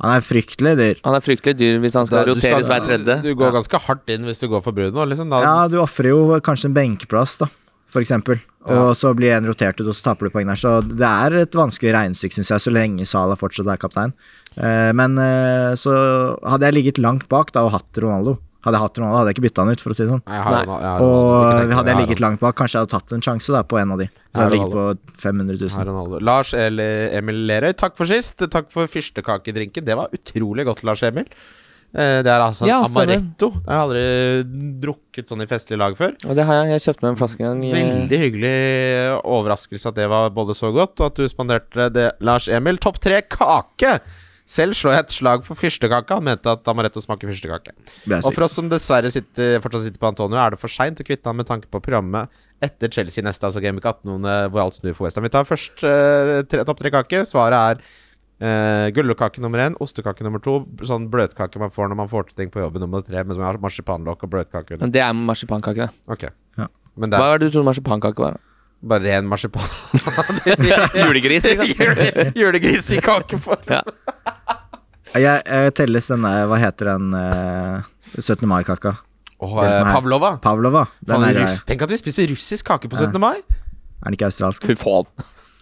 Speaker 2: Han er fryktelig dyr.
Speaker 4: Han er fryktelig dyr hvis han skal
Speaker 3: Da- du
Speaker 4: roteres hver tredje.
Speaker 3: Du går ganske hardt inn hvis du går for Bruno, liksom. Da,
Speaker 2: Ja, du ofrer jo kanskje en benkeplass, da, for eksempel. Og så blir en rotert ut, og så taper du poeng der. Så det er et vanskelig regnestykke, syns jeg, så lenge Salah fortsatt er kaptein. Eh, men eh, så hadde jeg ligget langt bak da og hatt Ronaldo. Hadde jeg hatt Ronaldo, hadde jeg ikke bytta han ut, for å si det sånn.
Speaker 3: Nei, jeg har
Speaker 4: Nei.
Speaker 3: Ronaldo- jeg har Ronaldo, ikke
Speaker 2: Og
Speaker 3: tenk-
Speaker 2: hadde
Speaker 3: har
Speaker 2: jeg ligget langt bak, kanskje jeg hadde tatt en sjanse da, på en av de. Så
Speaker 3: Ja,
Speaker 2: jeg
Speaker 3: det
Speaker 2: ligger på 500
Speaker 3: Her
Speaker 2: 000.
Speaker 3: er Ronaldo. Lars Eli- Emil Lerøy, takk for sist. Takk for fyrstekakedrinken. Det var utrolig godt, Lars Emil. Eh, Det er altså en
Speaker 4: Ja, stemmer.
Speaker 3: amaretto. Jeg har aldri drukket sånn i festlig lag før.
Speaker 4: Og det har jeg, jeg kjøpte meg en flaske en gang. eh,
Speaker 2: Eh.
Speaker 4: i-
Speaker 3: Veldig hyggelig overraskelse at det var både så godt, og at du spanderte det, Lars Emil. Topp tre kake! Selv slår jeg et slag for fyrstekake. Han mente at amaretto smaker fyrstekake.
Speaker 2: Det er
Speaker 3: Og
Speaker 2: sykt.
Speaker 3: for oss som dessverre sitter, fortsatt sitter på Antonio, er det for seint å kvitte ham med tanke på programmet etter Chelsea neste, altså Gameweek 18, eh, hvor alt snur for Westham. Vi tar først eh, tre, topp tre kake. Svaret er uh, gullkake nummer én, ostekake nummer to, sånn bløtkake man får når man får til ting på jobben nummer tre, men som har marsipanlokk og bløtkake under.
Speaker 4: Men det er marsipankake, det.
Speaker 3: Ok.
Speaker 2: Ja.
Speaker 3: Men det
Speaker 4: Hva
Speaker 3: er
Speaker 4: var det du trodde marsipankake var?
Speaker 3: bare ren marsipan.
Speaker 4: Julegris,
Speaker 3: Jule- Julegris i kakeform.
Speaker 4: Ja.
Speaker 2: Jeg, jeg telles denne, hva heter den eh, 17. mai-kaka?
Speaker 3: Og
Speaker 2: Hjelp
Speaker 3: eh,
Speaker 2: meg her.
Speaker 3: Pavlova.
Speaker 2: Pavlova. Den
Speaker 3: Faen,
Speaker 2: er,
Speaker 3: russ. Tenk at vi spiser russisk kake på 17. mai!
Speaker 2: er den ikke australsk?
Speaker 4: Fy faen.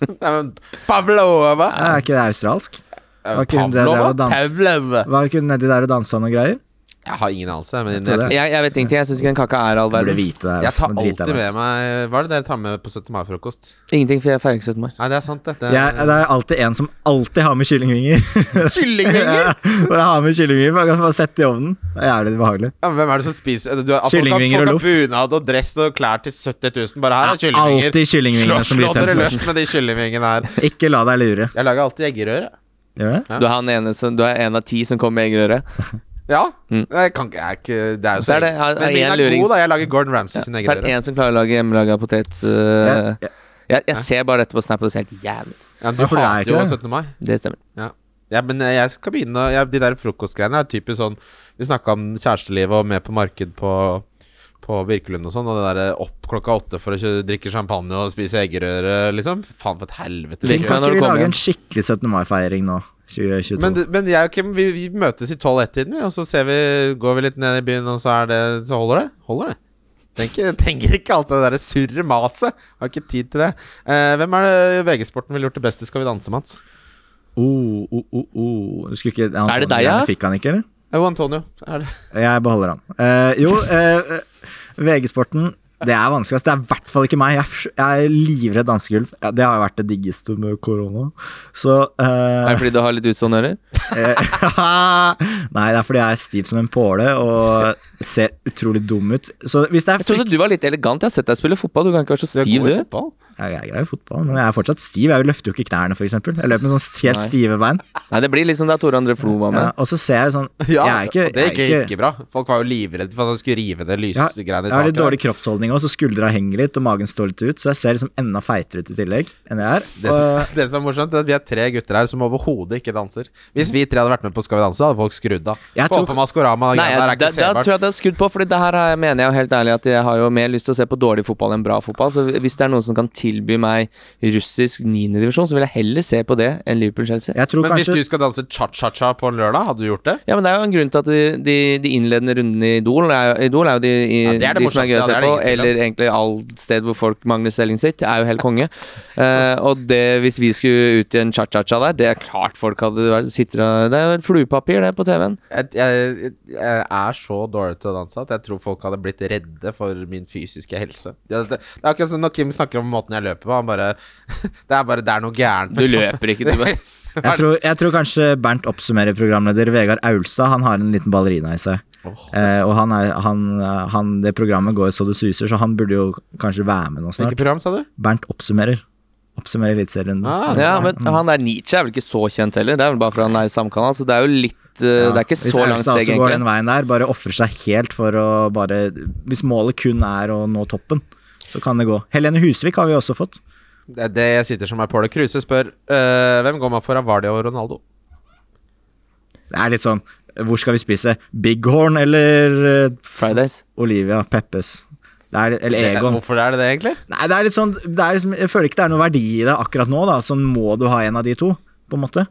Speaker 3: Nei, men Pavlova!
Speaker 2: Er ikke det australsk? Var ikke hun der
Speaker 3: Eh, Pavlova?
Speaker 2: og danset?
Speaker 3: Pavlova.
Speaker 2: Var ikke hun nedi der og dansa noen greier?
Speaker 3: Jeg har ingen anelse. Men jeg,
Speaker 2: tror det.
Speaker 3: jeg,
Speaker 4: Jeg, jeg vet ingenting. Jeg syns ikke den kaka er all
Speaker 2: Burde
Speaker 4: verden.
Speaker 2: vite det. her, ass.
Speaker 3: tar
Speaker 2: Nå driter meg,
Speaker 3: alltid med
Speaker 2: ass.
Speaker 3: meg Hva er det dere tar med på 17. mai-frokost?
Speaker 4: Ingenting, for jeg feirer ikke 17. mai.
Speaker 3: Nei, det er sant, dette.
Speaker 2: Jeg, det er alltid en som alltid har med kyllingvinger.
Speaker 3: Kyllingvinger!
Speaker 2: Ja, Bare ha med kyllingvinger. Man kan bare sette i ovnen. Det er jævlig behagelig.
Speaker 3: Ja, men hvem er det som spiser du, at
Speaker 2: Kyllingvinger
Speaker 3: folk har,
Speaker 2: og
Speaker 3: folk har bunad og dress og klær til 70 000. Bare her er
Speaker 2: Det er alltid
Speaker 3: kyllingvinger.
Speaker 2: kyllingvingene
Speaker 3: Slå-
Speaker 2: som blir
Speaker 3: Slå dere
Speaker 2: tømt
Speaker 3: løs med de kyllingvingene her.
Speaker 2: Ikke la deg lure.
Speaker 3: Jeg lager alltid eggerøre.
Speaker 2: Gjør det?
Speaker 4: Du er, han ene, som- du er en av ti som kommer med eggerøre.
Speaker 3: Ja.
Speaker 4: Mm.
Speaker 3: Jeg kan ikke, jeg er ikke Det er jo
Speaker 4: Så er det- er- er
Speaker 3: Men min
Speaker 4: en
Speaker 3: er
Speaker 4: lurings-
Speaker 3: god, da. Jeg lager Gordon Ramsay sin
Speaker 4: Så er det
Speaker 3: eggerøre.
Speaker 4: en som klarer å lage hjemmelaga potet. øh,
Speaker 3: Eh,
Speaker 2: Jeg-
Speaker 4: jeg, jeg ser bare dette på Snap, og det ser helt jævlig ut.
Speaker 3: Ja, du
Speaker 2: Ja, for det er
Speaker 3: hater
Speaker 2: ikke
Speaker 3: jo
Speaker 2: det.
Speaker 3: 17. mai.
Speaker 4: Det stemmer.
Speaker 3: Ja, men eh, jeg skal begynne å- ja, De der frokostgreiene er typisk sånn Vi snakka om kjærestelivet og med på marked på, på Birkelund og sånn, og det derre opp klokka åtte for å kjø- drikke champagne og spise eggerøre, liksom. Faen, for et helvete.
Speaker 4: Drikk
Speaker 3: kjør.
Speaker 4: meg
Speaker 2: Kan ikke
Speaker 4: når du
Speaker 2: vi
Speaker 4: kommer
Speaker 2: lage
Speaker 4: hjem.
Speaker 2: en skikkelig 17. mai-feiring nå? 2022.
Speaker 3: Men, men jeg og Kim, vi, vi møtes i 12-1-tiden, vi, og så ser vi, går vi litt ned i byen, og så, er det, så holder det. Holder det. Tenker, tenker ikke alt det derre surre maset. Har ikke tid til det. Eh, hvem er det VG-sporten ville gjort det beste Skal vi danse, Mats?
Speaker 2: oh, oh, oh, oh. Du skulle ikke
Speaker 4: Er det
Speaker 2: Antonio,
Speaker 4: deg, ja?
Speaker 2: Fikk han ikke, eller?
Speaker 3: Jo, Antonio. Er det?
Speaker 2: Jeg beholder han. Eh, jo, eh, VG-sporten det er vanskelig. ass. Det er i hvert fall ikke meg. Jeg er, f- jeg er livredd dansegulv. Ja, det har jo vært det diggeste med korona. Så eh,
Speaker 4: Er det fordi du har litt utstående ører?
Speaker 2: Nei, det er fordi jeg er stiv som en påle og ser utrolig dum ut. Så hvis det er
Speaker 4: Jeg trodde
Speaker 2: frykt...
Speaker 4: du var litt elegant. Jeg har sett deg spille fotball. Du kan ikke være så
Speaker 3: Du er
Speaker 4: stiv,
Speaker 3: god i
Speaker 4: du.
Speaker 3: fotball.
Speaker 2: Jeg er grei i fotball, men jeg er fortsatt stiv. Jeg løfter jo ikke knærne, f.eks. Jeg løper med sånn helt
Speaker 4: Nei.
Speaker 2: stive bein.
Speaker 4: Nei, det blir litt som da Tore André Flo var med.
Speaker 2: Ja, og så ser jeg sånn
Speaker 3: Ja,
Speaker 2: Jeg er ikke,
Speaker 3: og det
Speaker 2: jeg
Speaker 3: gikk
Speaker 2: er
Speaker 3: ikke,
Speaker 2: ikke
Speaker 3: bra. Folk var jo livredde for at han skulle rive det
Speaker 2: jeg har,
Speaker 3: lysgreiene
Speaker 2: jeg
Speaker 3: i
Speaker 2: har litt
Speaker 3: taket.
Speaker 2: dårlig kroppsholdning òg, så skuldra henger litt, og magen står litt ut. Så jeg ser liksom enda feitere ut i tillegg enn jeg er.
Speaker 3: Det
Speaker 2: Og,
Speaker 3: som, det som er morsomt, er at vi er tre gutter her som overhodet ikke danser. Hvis vi tre hadde vært med på Skal vi danse, hadde folk skrudd av.
Speaker 2: Jeg
Speaker 3: Få
Speaker 2: tror-
Speaker 3: på Maskorama,
Speaker 4: Nei,
Speaker 3: det
Speaker 4: jeg,
Speaker 3: der er
Speaker 4: da,
Speaker 3: ikke
Speaker 4: da
Speaker 3: selvbart.
Speaker 4: tror jeg at jeg har skudd på, Fordi det her har jeg, mener jeg jo helt ærlig at jeg har jo mer lyst til å se på dårlig fotball enn bra fotball. Så hvis det er noen som kan tilby meg russisk niendedivisjon, så vil jeg heller se på det enn Liverpool-Chelsea.
Speaker 2: jeg tror
Speaker 3: Men hvis
Speaker 2: kanskje
Speaker 3: du skal danse cha-cha-cha på en lørdag, hadde du gjort det?
Speaker 4: Ja, men Det er jo en grunn til at de, de, de innledende rundene i Idol er, jo- Idol er jo de, i,
Speaker 3: Ja, det er det
Speaker 4: de som er
Speaker 3: morsomste,
Speaker 4: gøy å
Speaker 3: ja, det
Speaker 4: se
Speaker 3: er det ingen
Speaker 4: på.
Speaker 3: tvil om.
Speaker 4: Eller egentlig alt sted hvor folk mangler selging sitt, er jo helt konge. Eh, og det, hvis vi skulle ut i en cha-cha-cha der, det er klart folk hadde vært, sitter og Det er jo fluepapir, det, på TV-en.
Speaker 3: Jeg, jeg, jeg er så dårlig til å danse at jeg tror folk hadde blitt redde for min fysiske helse. Det, det, det er akkurat som når Kim snakker om måten jeg løper på. Han bare Det er bare Det er noe gærent
Speaker 4: Du løper ikke, du. bare-
Speaker 2: jeg tror, jeg tror kanskje Bernt oppsummerer programleder Vegard Aulstad. Han har en liten ballerina i seg.
Speaker 3: Åh.
Speaker 2: Eh, og han er, han, han, det programmet går så det suser, så han burde jo kanskje være med nå snart.
Speaker 3: Hvilket program, sa du?
Speaker 2: Bernt oppsummerer. Oppsummerer eliteserierunden.
Speaker 3: Ah,
Speaker 2: Altså,
Speaker 4: Ja, men han der Nietzsche er vel ikke så kjent heller. Det er vel bare fordi han er i samme kanal, så det er jo litt eh,
Speaker 2: ja.
Speaker 4: Det er ikke så langt
Speaker 2: Hvis Austad
Speaker 4: steg,
Speaker 2: også går den
Speaker 4: egentlig.
Speaker 2: veien der, bare ofrer seg helt for å bare Hvis målet kun er å nå toppen, så kan det gå. Helene Husvik har vi også fått.
Speaker 3: Det er det jeg sitter som er Pål Kruse spør eh, Hvem går man for av Vardy og Ronaldo?
Speaker 2: Det er litt sånn Hvor skal vi spise? Bighorn eller eh,
Speaker 4: Fridays.
Speaker 2: Olivia Peppes? Det er, eller Egon.
Speaker 3: Hvorfor er det det, egentlig?
Speaker 2: Nei, det er litt sånn det er liksom, Jeg føler ikke det er noe verdi i det akkurat nå, da. Sånn må du ha en av de to, på en måte.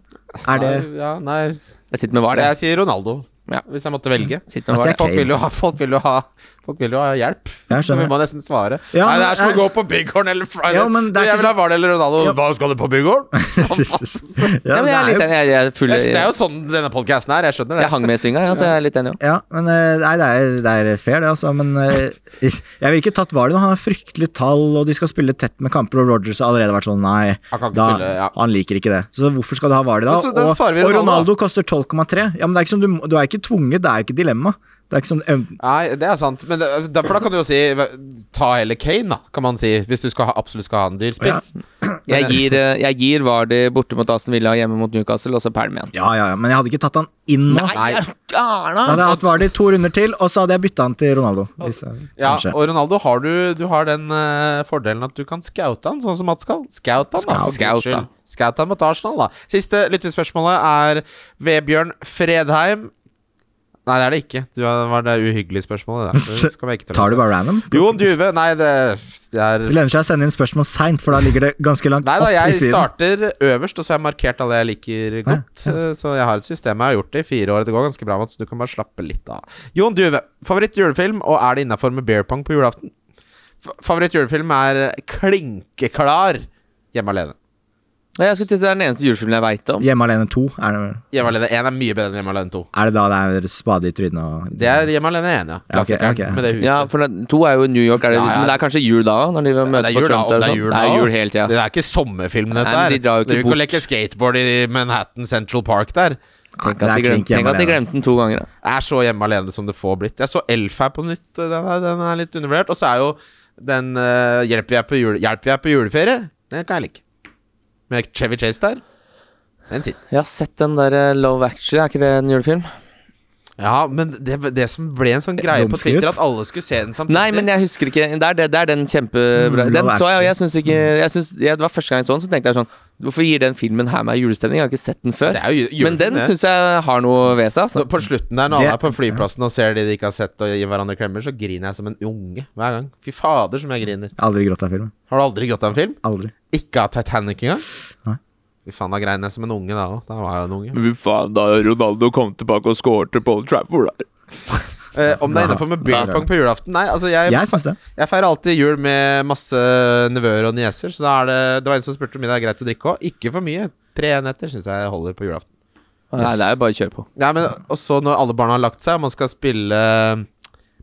Speaker 2: Er det
Speaker 3: Nei, ja, nei
Speaker 4: Jeg sitter med hva er det?
Speaker 3: Jeg sier Ronaldo,
Speaker 4: Ja.
Speaker 3: hvis jeg måtte velge.
Speaker 4: Sitter med
Speaker 2: Altså,
Speaker 4: hva er
Speaker 2: jeg-
Speaker 4: det?
Speaker 3: Folk vil, jo ha, folk, vil jo ha, folk vil jo ha hjelp,
Speaker 2: Jeg
Speaker 3: så vi
Speaker 2: skjønner.
Speaker 3: må nesten svare.
Speaker 2: Ja,
Speaker 3: nei, det er som
Speaker 2: jeg-
Speaker 3: å gå på Bighorn eller Friday.
Speaker 2: Ja, men det er
Speaker 3: jeg
Speaker 2: ikke
Speaker 3: vil ha
Speaker 2: så-
Speaker 3: Vardy eller Ronaldo. Hva skal du på Bighorn?
Speaker 2: Ja,
Speaker 4: Ja, men
Speaker 2: det
Speaker 4: jeg er
Speaker 2: er
Speaker 4: litt
Speaker 2: jo-
Speaker 4: enig. Jeg, jeg, er full,
Speaker 3: Det er
Speaker 4: jeg,
Speaker 3: jo sånn denne podkasten er. Jeg skjønner det.
Speaker 4: hang med i synga, ja, så jeg er litt enig òg.
Speaker 2: Ja, men eh, nei, det er, det er fair, det, altså. Men eh, jeg vil ikke tatt Vardy nå. Han har fryktelig tall, og de skal spille tett med kamper, og Rogers har allerede vært sånn nei,
Speaker 3: Han kan ikke
Speaker 2: da,
Speaker 3: spille, ja.
Speaker 2: han liker ikke det. Så hvorfor skal du ha Vardy da?
Speaker 3: Men så da
Speaker 2: og,
Speaker 3: svarer vi
Speaker 2: og
Speaker 3: Ronaldo,
Speaker 2: Ronaldo koster 12,3. Ja, men det er ikke som du, må- du er ikke ikke tvunget, det er jo ikke dilemma. Det er ikke som eh, en-
Speaker 3: Nei, det er sant. Men det, da, for da kan du jo si Ta heller Kane, da, kan man si. Hvis du skal ha, absolutt skal ha en dyr spiss.
Speaker 4: Jeg gir, eh, jeg gir Vardy borte mot Aston Villa, hjemme mot Newcastle, og så pælm igjen.
Speaker 2: Ja, ja, ja, men jeg hadde ikke tatt han inn nå.
Speaker 4: Nei, er du gæren,
Speaker 2: Da hadde
Speaker 4: da?
Speaker 2: jeg hatt Vardy to runder til, og så hadde jeg bytta han til Ronaldo. Hvis jeg,
Speaker 3: Ja,
Speaker 2: kanskje.
Speaker 3: og Ronaldo har du, du har den eh, fordelen at du kan scoute han, sånn som Mats skal. Scout han, da. for
Speaker 4: Scout.
Speaker 3: guds skyld. Scout han mot Arsenal, da. Siste lyttespørsmålet er Vebjørn Fredheim. Nei, det er det ikke. Du, det var det uhyggelige spørsmålet. Der. Det skal vi ikke ta
Speaker 2: Tar du
Speaker 3: med.
Speaker 2: bare random?
Speaker 3: Jon Duve. Nei, det, det er
Speaker 2: Det lønner seg å sende inn spørsmål seint, for da ligger det ganske langt
Speaker 3: Nei da,
Speaker 2: opp i
Speaker 3: jeg
Speaker 2: feeden.
Speaker 3: starter øverst, og så har jeg markert alle jeg liker godt.
Speaker 2: Ja,
Speaker 3: eh, Så jeg har et system. Jeg har gjort det i fire år. Det går ganske bra, Mats. Du kan bare slappe litt av. Jon Duve, favoritt julefilm, og er det innafor med beer pong på julaften? F favoritt julefilm er klinkeklar Hjemme alene.
Speaker 4: Jeg skulle til å si Det er den eneste julefilmen jeg veit om.
Speaker 2: Hjemme alene 2, er det,
Speaker 3: Hjemme alene 1 er mye bedre enn Hjemme alene 2.
Speaker 2: er det da det er spade i trynet og
Speaker 3: Det er Hjemme alene 1, ja.
Speaker 2: Ja, ok,
Speaker 3: Klassikeren
Speaker 2: ok.
Speaker 3: med det huset.
Speaker 4: Ja, for det, to er jo i New York, er det,
Speaker 3: Ja, ja.
Speaker 4: men det er kanskje jul da òg? Når de
Speaker 3: det
Speaker 4: møter
Speaker 3: er
Speaker 4: på
Speaker 3: jul, da.
Speaker 4: Trump der
Speaker 3: Det
Speaker 4: og
Speaker 3: er
Speaker 4: sånn?
Speaker 3: jul, da.
Speaker 4: Det er jul hele tida.
Speaker 3: Det er ikke sommerfilm, dette
Speaker 4: Nei, men
Speaker 3: her.
Speaker 4: de drar jo ikke
Speaker 3: Driver ikke og
Speaker 4: bort.
Speaker 3: leker skateboard i Manhattan Central Park der.
Speaker 4: Tenk
Speaker 2: Ah, det
Speaker 4: at
Speaker 2: er
Speaker 4: de glemte,
Speaker 2: klink hjemme
Speaker 4: tenk at de
Speaker 2: alene.
Speaker 4: glemte den to ganger. Da.
Speaker 3: er så hjemme alene som det får blitt. Jeg så Elf her på nytt. eh, Den er, den er litt undervurdert. Og så er jo den eh, hjelper, jeg på jule, 'Hjelper jeg på juleferie'? Den kan jeg like. Med Chevy Chase der. Den sitter.
Speaker 4: Jeg har sett den der eh, Love Actually, er ikke det en julefilm?
Speaker 3: Ja, men det, det som ble en sånn greie på
Speaker 2: Dumskritt.
Speaker 3: Twitter, at alle skulle se den samtidig
Speaker 4: Nei, men jeg husker ikke. Det er, det, det er den kjempebra
Speaker 2: Mm,
Speaker 4: Den
Speaker 2: Love
Speaker 4: så
Speaker 2: Actually.
Speaker 4: jeg, og jeg syns ikke
Speaker 3: Mm.
Speaker 4: jeg synes, jeg, Det var første gang jeg så den, så tenkte jeg sånn Hvorfor gir den filmen her meg julestemning? Jeg har ikke sett den før.
Speaker 3: Det er jo ju-
Speaker 4: Men
Speaker 3: julefilm,
Speaker 4: den
Speaker 3: det.
Speaker 4: syns jeg har noe ved seg,
Speaker 3: Nå,
Speaker 4: altså.
Speaker 3: På slutten der, når
Speaker 2: Det-
Speaker 3: alle er på flyplassen og ser de de ikke har sett, og gir hverandre klemmer, så griner jeg som en unge hver gang. Fy fader, som jeg griner.
Speaker 2: Jeg har Aldri grått av filmen.
Speaker 3: Har du aldri grått av en film?
Speaker 2: Aldri.
Speaker 3: Ikke av Titanic engang?
Speaker 2: Nei.
Speaker 3: Fy faen, da grein jeg som en unge da òg. Da var jeg jo en unge.
Speaker 4: Fy faen, da Ronaldo kom tilbake og skårte på Old Trafford der.
Speaker 3: Eh, om det er
Speaker 2: Nei.
Speaker 3: innafor med beer
Speaker 2: Nei.
Speaker 3: pong på julaften? Nei, altså jeg,
Speaker 2: Jeg syns det.
Speaker 3: jeg feirer alltid jul med masse nevøer og nieser, så da er det Det var en som spurte om det er greit å drikke òg. Ikke for mye. Tre enheter syns jeg holder på julaften.
Speaker 4: Nei, det er jo bare å kjøre på.
Speaker 3: Nei, men Og så når alle barna har lagt seg, og man skal spille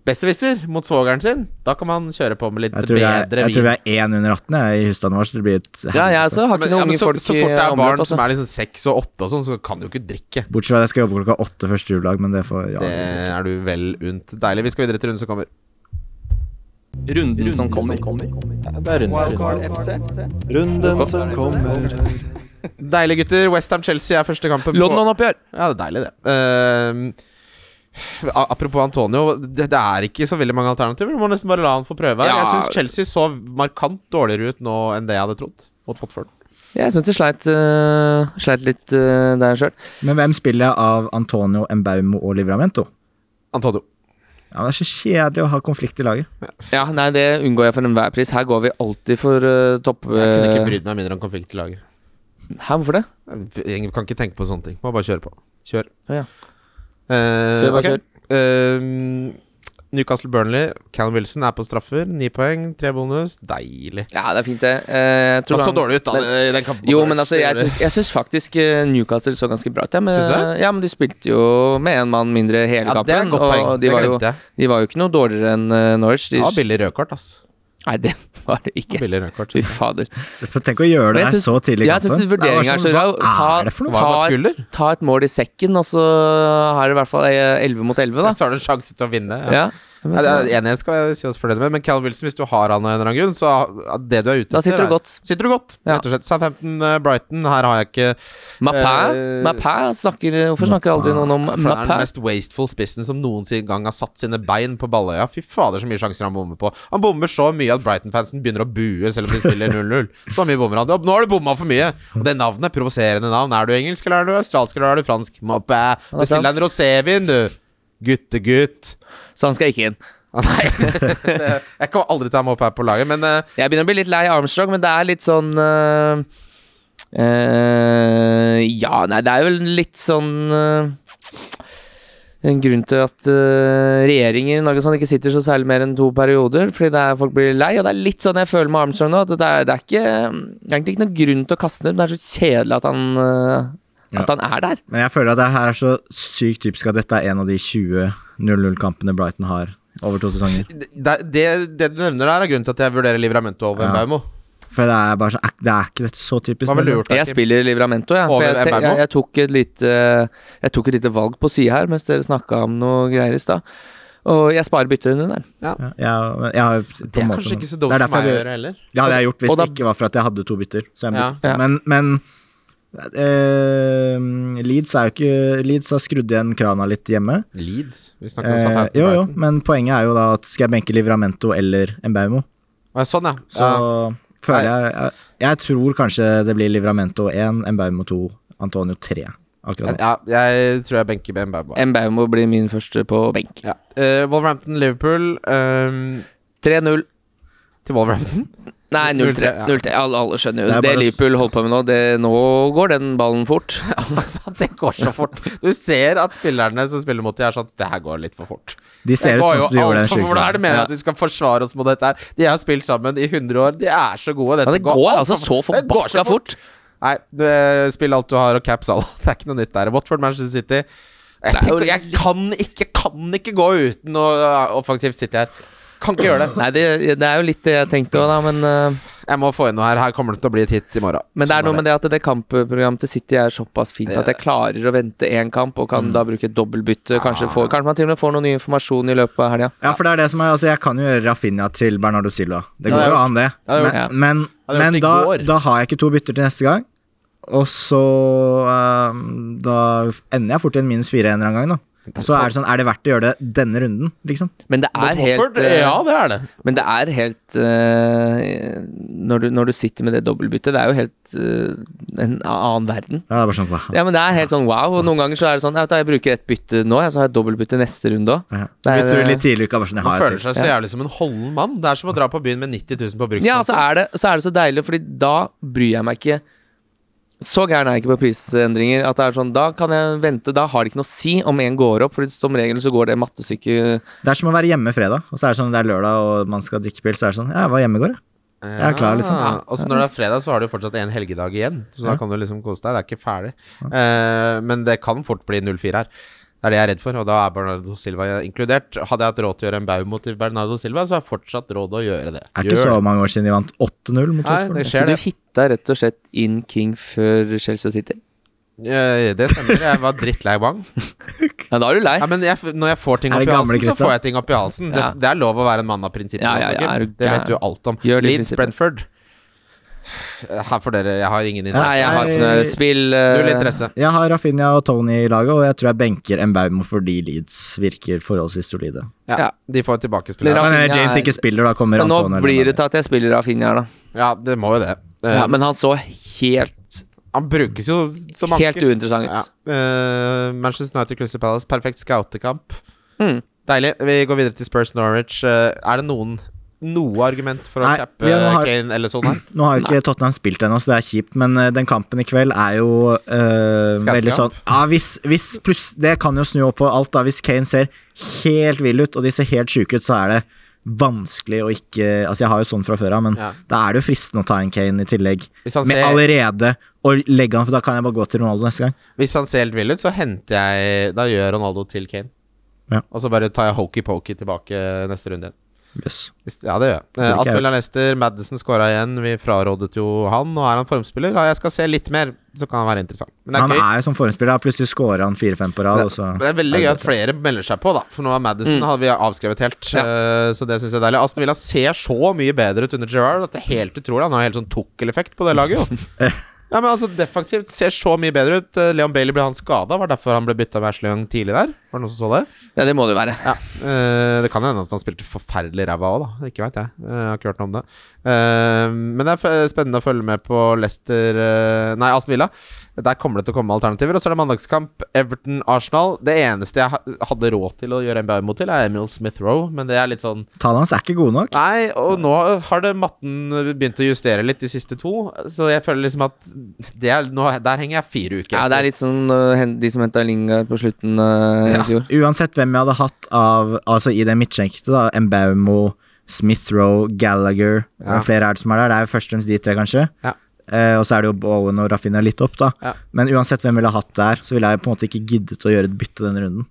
Speaker 3: Besserwisser mot svogeren sin, da kan man kjøre på med litt
Speaker 2: Jeg tror vi er,
Speaker 3: bedre
Speaker 2: jeg tror vi
Speaker 3: vin.
Speaker 2: er én under 18 jeg, i husstanden vår, så det blir et
Speaker 4: Ja, jeg
Speaker 2: helvete.
Speaker 4: også har
Speaker 3: Men,
Speaker 4: ikke
Speaker 3: ja,
Speaker 4: noen
Speaker 3: men
Speaker 4: unge
Speaker 3: så,
Speaker 4: folk
Speaker 3: så
Speaker 4: i
Speaker 3: fort det er barn
Speaker 4: området,
Speaker 3: som
Speaker 4: altså.
Speaker 3: er liksom seks og åtte og sånn, så kan du jo ikke drikke.
Speaker 2: Bortsett fra at jeg skal jobbe klokka åtte første juledag, men det får ja,
Speaker 3: Det er du vel unt. Deilig. Vi skal videre til runden som kommer.
Speaker 4: Runden som kommer.
Speaker 3: Det er rundens runde.
Speaker 1: FC.
Speaker 6: Runden som kommer.
Speaker 3: Deilig, gutter. Westham Chelsea er første kampen på
Speaker 4: London-oppgjør.
Speaker 3: Ja, det er deilig, det. Ehm, a- apropos Antonio, det, det er ikke så veldig mange alternativer. Du må nesten bare la han få prøve. her.
Speaker 4: Ja.
Speaker 3: Jeg syns Chelsea så markant dårligere ut nå enn det jeg hadde trodd. Mot Watford.
Speaker 4: Jeg syns de sleit, eh, sleit litt eh, der sjøl.
Speaker 2: Men hvem spiller jeg av Antonio, Embaumo og Livramento?
Speaker 3: Antonio.
Speaker 2: Ja, men Det er så kjedelig å ha konflikt i laget.
Speaker 4: Ja, nei, det unngår jeg for enhver pris. Her går vi alltid for eh, topp...
Speaker 3: Jeg kunne ikke
Speaker 4: eh,
Speaker 3: brydd meg mindre om konflikt i laget.
Speaker 4: Hæ, hvorfor det?
Speaker 3: Jeg kan ikke tenke på sånne ting. Må bare kjøre på. Kjør.
Speaker 4: Ja, ja.
Speaker 3: Eh,
Speaker 4: Kjør, bare
Speaker 3: ok.
Speaker 4: kjør.
Speaker 3: Ehm, Newcastle Burnley. Callum Wilson er på straffer. Ni poeng, tre bonus. Deilig. Altså,
Speaker 4: Ja, det er fint, det. Eh, jeg tror
Speaker 3: Han så
Speaker 4: han-
Speaker 3: dårlig ut da
Speaker 4: men-
Speaker 3: i den kampen.
Speaker 4: Jo, men altså, jeg syns, jeg syns faktisk eh, Newcastle så ganske bra ut. Ja, men, eh,
Speaker 3: Syns
Speaker 4: ja, men de spilte jo med én mann mindre hele
Speaker 3: ja, det er
Speaker 4: kampen.
Speaker 3: et godt poeng.
Speaker 4: og de
Speaker 3: Det
Speaker 4: var, jo,
Speaker 3: glemte jeg.
Speaker 4: de var jo ikke noe dårligere enn eh, Norwich. De,
Speaker 3: Ja, billig rødkort, ass.
Speaker 4: nei, det var det ikke.
Speaker 3: Billig rødkort.
Speaker 4: Fy fader.
Speaker 2: For Tenk å gjøre det
Speaker 4: Men jeg
Speaker 2: der
Speaker 4: syns-
Speaker 2: så tidlig i
Speaker 4: jeg
Speaker 2: kampen.
Speaker 4: syns vurderingen er så
Speaker 2: sånn, hva
Speaker 4: rar. Ta-
Speaker 2: er det for noe?
Speaker 3: Hva
Speaker 4: Ta-
Speaker 3: var skulder?
Speaker 4: Ta et mål i sekken, og så har det i hvert fall eh, elleve mot elleve, da.
Speaker 3: Så har du en sjanse til å vinne. Ja.
Speaker 4: Ja.
Speaker 3: Ja, det er, enighet skal jeg si oss fornøyd med, men Cal Wilson, hvis du har han av en eller annen grunn, så ja, det du er ute
Speaker 4: Da sitter du
Speaker 3: er-
Speaker 4: godt.
Speaker 3: Sitter du godt,
Speaker 4: Ja.
Speaker 3: rett og slett. Southampton, eh, Brighton, her har jeg ikke Eh,
Speaker 4: Mapæ? Mapæ snakker Hvorfor snakker aldri noen om
Speaker 3: For han er
Speaker 4: Mapæ?
Speaker 3: den mest wasteful spissen som noensinne gang har satt sine bein på Balløya. Fy fader, så mye sjanser han bommer på. Han bommer så mye at Brighton-fansen begynner å bue selv om de spiller 0-0. Så mye bommer han. Nå har du bomma for mye! Og det navnet, provoserende navn. Er du engelsk, eller er du australsk, eller er du fransk? Moppa.
Speaker 4: er
Speaker 3: Bestill deg en rosévin, du! Guttegutt.
Speaker 4: Så han skal ikke inn.
Speaker 3: Ah, Nei, det, jeg kommer aldri til å ha Moppa på laget, men eh,
Speaker 4: Jeg begynner å bli litt lei Armstrong, men det er litt sånn øh, øh, Ja, nei, det er vel litt sånn øh, En grunn til at øh, regjeringen i Norge og sånn ikke sitter så særlig mer enn to perioder, fordi det er, folk blir lei. Og det er litt sånn jeg føler med Armstrong nå, at det er, det er ikke, egentlig ikke noen grunn til å kaste den ut. men Det er så kjedelig at han øh,
Speaker 2: Ja.
Speaker 4: At han er der.
Speaker 2: Men jeg føler at det her er så sykt typisk at dette er en av de 20 0-0-kampene Brighton har over to sesonger.
Speaker 3: det, det, det du nevner der, er grunnen til at jeg vurderer Livramento over
Speaker 2: Ja.
Speaker 3: Baumo.
Speaker 2: For det er bare sånn Det er ikke dette så typisk.
Speaker 3: Hva ville du gjort? da,
Speaker 4: Jeg
Speaker 3: Kim?
Speaker 4: spiller Livramento, jeg. For
Speaker 3: Over
Speaker 4: jeg, te-
Speaker 3: Mbermo?
Speaker 4: jeg, jeg, tok et lite, jeg tok et lite valg på sida her mens dere snakka om noe greier i stad. Og jeg sparer bytterrunden der.
Speaker 2: Ja, jeg, jeg har på en
Speaker 3: Det er
Speaker 2: måte-
Speaker 3: kanskje ikke så
Speaker 2: Det
Speaker 3: dumt
Speaker 2: er
Speaker 3: for
Speaker 2: derfor
Speaker 3: meg å
Speaker 2: jeg-
Speaker 3: gjøre heller.
Speaker 2: Det hadde jeg gjort hvis
Speaker 4: Og da-
Speaker 2: det ikke var for at jeg hadde to bytter. Så jeg
Speaker 3: Ja.
Speaker 2: bytter.
Speaker 4: Ja.
Speaker 2: Men, men eh, Leeds er jo ikke Leeds har skrudd igjen krana litt hjemme.
Speaker 3: Leeds. Vi snakker om
Speaker 2: Eh,
Speaker 3: Southampton.
Speaker 2: jo, jo,
Speaker 3: Brighton.
Speaker 2: men poenget er jo da at skal jeg benke Livramento eller Embaumo,
Speaker 3: Å, ja, Sånn, ja.
Speaker 2: så
Speaker 3: ja.
Speaker 2: føler jeg, jeg Jeg tror kanskje det blir Livramento 1, Embaumo 2, Antonio 3. Akkurat nå.
Speaker 3: Ja, jeg tror jeg benker Ben Bauba.
Speaker 4: Mbaumo blir min første på benk.
Speaker 3: Ja. Eh, Wolverhampton, Liverpool ehm,
Speaker 4: 3-0.
Speaker 3: Til Wolverhampton?
Speaker 4: Nei,
Speaker 3: 0-3,
Speaker 4: 0-3.
Speaker 3: ja.
Speaker 4: 0-3. Alle, alle skjønner jo
Speaker 2: Det
Speaker 4: det,
Speaker 2: er bare-
Speaker 4: Liverpool holder på med nå. Det, nå går den ballen fort.
Speaker 3: altså, det går så fort. Du ser at spillerne som spiller mot dem, er sånn Det her går litt for fort.
Speaker 2: De ser ut sånn
Speaker 3: går jo
Speaker 2: som de gjorde den
Speaker 3: altfor fort. Hvordan er det
Speaker 2: sjuke.
Speaker 3: meningen at vi skal forsvare oss mot dette her? De har spilt sammen i 100 år. De er så gode. Dette
Speaker 4: Ja, det går altså
Speaker 3: altfor
Speaker 4: så
Speaker 3: fort. Det går så
Speaker 4: forbaska fort.
Speaker 3: Nei, du, eh, spill alt du har og caps alle. Det er ikke noe nytt der. Watford, Manchester City. Jeg,
Speaker 4: Det er jo
Speaker 3: tenker, jeg kan ikke, kan ikke gå uten noe eh, offensivt City her. Kan ikke gjøre det.
Speaker 4: Nei, det, det er jo litt det jeg tenkte òg, da, men eh,
Speaker 3: Jeg må få inn noe her. Her kommer det til å bli et hit i morgen.
Speaker 4: Men det er noe med det at det kampprogrammet til City er såpass fint at jeg klarer å vente én kamp, og kan da bruke et dobbeltbytte. Kanskje, får- kanskje man til og med får noe ny informasjon i løpet av helga.
Speaker 2: Ja, for det er det som er Altså, jeg kan jo gjøre Rafinha til Bernardo Silva. Det
Speaker 3: Ja,
Speaker 2: går
Speaker 3: det
Speaker 2: jo
Speaker 3: har
Speaker 2: an, det.
Speaker 3: Ja, det
Speaker 2: Men,
Speaker 3: har
Speaker 4: jeg gjort.
Speaker 2: men, men
Speaker 3: Ja, det har jeg gjort
Speaker 2: da,
Speaker 3: i går.
Speaker 2: da har jeg ikke to bytter til neste gang. Og så ehm, Da ender jeg fort i en minus fire en eller annen gang, da. Så er det sånn Er det verdt å gjøre det denne runden, liksom?
Speaker 4: Men det er helt,
Speaker 3: Watford,
Speaker 4: eh,
Speaker 3: Ja, det er det.
Speaker 4: men det er helt eh, når, du, når du sitter med det dobbeltbyttet, det er jo helt eh, en annen verden.
Speaker 2: Ja, det er bare sånn wow.
Speaker 4: Ja, men det er helt sånn wow. Og noen ganger så er det sånn Jeg, vet, da, jeg bruker ett bytte nå, jeg, så har jeg dobbeltbytte neste runde òg.
Speaker 2: Ja.
Speaker 4: Det er-
Speaker 2: Bytter du litt tidlig, ikke bare sånn Jeg
Speaker 3: Man
Speaker 2: har
Speaker 3: føler
Speaker 2: et til.
Speaker 3: seg så jævlig som en holden mann. Det er som å dra på byen med 90 000 på bruksplasser.
Speaker 4: Ja, altså er det, så er det så deilig, Fordi da bryr jeg meg ikke Så gæren er jeg ikke på prisendringer at det er sånn Da kan jeg vente, da har det ikke noe å si om en går opp, Fordi som regel så går det mattestykket
Speaker 2: Det er som å være hjemme fredag, og så er det sånn det er lørdag og man skal drikke pils, så er det sånn Ja, jeg var hjemme i går, jeg. Jeg er klar, liksom.
Speaker 3: Ja, Og så når det er fredag, så har du jo fortsatt en helgedag igjen. Så
Speaker 2: Ja.
Speaker 3: da kan du liksom kose deg. Det er ikke ferdig. Eh, men det kan fort bli 0-4 her. Det er det jeg er redd for, og da er Bernardo Silva inkludert. Hadde jeg hatt råd til å gjøre en baumo til Bernardo Silva, så har jeg fortsatt råd til å gjøre det.
Speaker 2: Det er ikke
Speaker 3: Gjør
Speaker 2: så
Speaker 3: det.
Speaker 2: mange år siden de vant 8-0 mot
Speaker 3: Nei,
Speaker 2: Watford.
Speaker 3: det
Speaker 4: Så
Speaker 3: skjer,
Speaker 4: du
Speaker 3: det.
Speaker 4: hitta rett og slett in King før Chelsea City?
Speaker 3: Eh, det stemmer. Jeg var drittlei bang.
Speaker 4: Ja, da er du lei.
Speaker 3: Ja, men jeg, f- når jeg får ting
Speaker 2: Er
Speaker 3: opp
Speaker 2: det
Speaker 3: i halsen,
Speaker 2: gamle
Speaker 3: så
Speaker 2: Kristian?
Speaker 3: får jeg ting opp i halsen.
Speaker 4: Ja.
Speaker 3: Det, det er lov å være en mann av prinsippet.
Speaker 4: Ja, ja,
Speaker 3: også,
Speaker 4: ja,
Speaker 3: Kim.
Speaker 4: er du
Speaker 3: det vet
Speaker 4: gæren?
Speaker 3: du alt om.
Speaker 4: Gjør det i
Speaker 3: Leeds
Speaker 4: prinsippet.
Speaker 3: Brentford. Her får dere Jeg har ingen
Speaker 4: Nei,
Speaker 3: interesse.
Speaker 4: jeg har ikke noe spill eh,
Speaker 3: Null interesse.
Speaker 2: Jeg har Rafinha og Tony i laget, og jeg tror jeg benker Embaumo fordi Leeds virker forholdsvis solide.
Speaker 3: Ja,
Speaker 4: Ja.
Speaker 3: De får
Speaker 2: Ja,
Speaker 3: tilbake
Speaker 4: Men
Speaker 3: spillere.
Speaker 4: Rafinha
Speaker 2: men når James
Speaker 4: er-
Speaker 2: ikke spiller, da kommer
Speaker 4: Men nå
Speaker 2: Antonio.
Speaker 4: blir det til at jeg spiller Rafinha her, da.
Speaker 3: Ja, det må jo det. Eh,
Speaker 4: Ja, men han så helt
Speaker 3: Han brukes jo som anker.
Speaker 4: Helt uinteressant
Speaker 3: Ja.
Speaker 4: ut.
Speaker 3: Eh, Manchester United Crystal Palace, perfekt scoutekamp.
Speaker 4: Mm.
Speaker 3: Deilig. Vi går videre til Spurs Norwich. Eh, er det noen noe argument for å
Speaker 2: Nei,
Speaker 3: cappe
Speaker 2: vi har-
Speaker 3: Kane eller sånn her?
Speaker 2: Nå har jo ikke Tottenham spilt ennå, så det er kjipt, men eh, den kampen i kveld er jo eh,
Speaker 3: Skal
Speaker 2: veldig
Speaker 3: ikke
Speaker 2: sånn
Speaker 3: opp?
Speaker 2: ja, hvis, hvis pluss, Det kan jo snu opp på alt, da. Hvis Kane ser helt vill ut, og de ser helt sjuke ut, så er det vanskelig å ikke Altså, jeg har jo sånn fra før av, men
Speaker 3: Ja.
Speaker 2: da er det jo fristende å ta en Kane i tillegg.
Speaker 3: Hvis han
Speaker 2: Med
Speaker 3: ser-
Speaker 2: allerede å legge han, for da kan jeg bare gå til Ronaldo neste gang.
Speaker 3: Hvis han ser helt vill ut, så henter jeg Da gjør Ronaldo til Kane.
Speaker 2: Ja.
Speaker 3: Og så bare tar jeg hokey-pokey tilbake neste runde igjen.
Speaker 2: Yes.
Speaker 3: Hvis- Ja, det gjør jeg.
Speaker 2: ikke
Speaker 3: Eh,
Speaker 2: jeg
Speaker 3: Asbjørn Lester, Madison scora igjen. Vi frarådet jo han. Nå er han formspiller. Ja, jeg skal se litt mer, så kan han være interessant. Men det er
Speaker 2: han
Speaker 3: gøy.
Speaker 2: er jo som forhåndsspiller, plutselig scorer han fire-fem på rad, og så
Speaker 3: Det er veldig gøy at flere melder seg på, da. For nå er Madison hadde vi avskrevet helt.
Speaker 4: Ja.
Speaker 3: eh, Så det syns jeg er deilig. Aston Villa ser så mye bedre ut under Gerrard at det er helt utrolig. Han har helt sånn tukkeleffekt på det laget, jo. ja, men altså Defensivt ser så mye bedre ut. Eh, Leon Bailey ble han skada. Var derfor han ble bytta med Ashley Young tidlig der. Var det noen som så det?
Speaker 4: Ja, det må det jo være.
Speaker 3: Ja, eh, Det kan jo hende at han spilte forferdelig ræva òg, da. Ikke veit jeg. Eh, jeg har ikke hørt noe om det. Eh, men det er f spennende å følge med på Leicester eh, Nei, Aston Villa. Der kommer det til å komme alternativer. Og så er det mandagskamp Everton-Arsenal. Det eneste jeg ha- hadde råd til å gjøre en mot til, er Emil Smith-Roe, men det er litt sånn
Speaker 2: Tallene hans er ikke gode nok.
Speaker 3: Nei, og nå har det matten begynt å justere litt de siste to, så jeg føler liksom at det er, nå, Der henger jeg fire uker.
Speaker 4: Ja, det er litt sånn øh, hen- de som henta Lingard på slutten øh, i fjor.
Speaker 2: Uansett hvem jeg hadde hatt av Altså i det midtsjektet, da. Embaumo, Smith-Roe, Gallagher
Speaker 3: Ja.
Speaker 2: og flere er det som er der. Det er jo først og fremst de tre, kanskje.
Speaker 3: Ja.
Speaker 2: Eh, og så er det jo Bowen og Rafinha litt opp, da.
Speaker 3: Ja.
Speaker 2: Men uansett hvem jeg ville hatt der, så ville jeg på en måte ikke giddet å gjøre et bytte denne runden.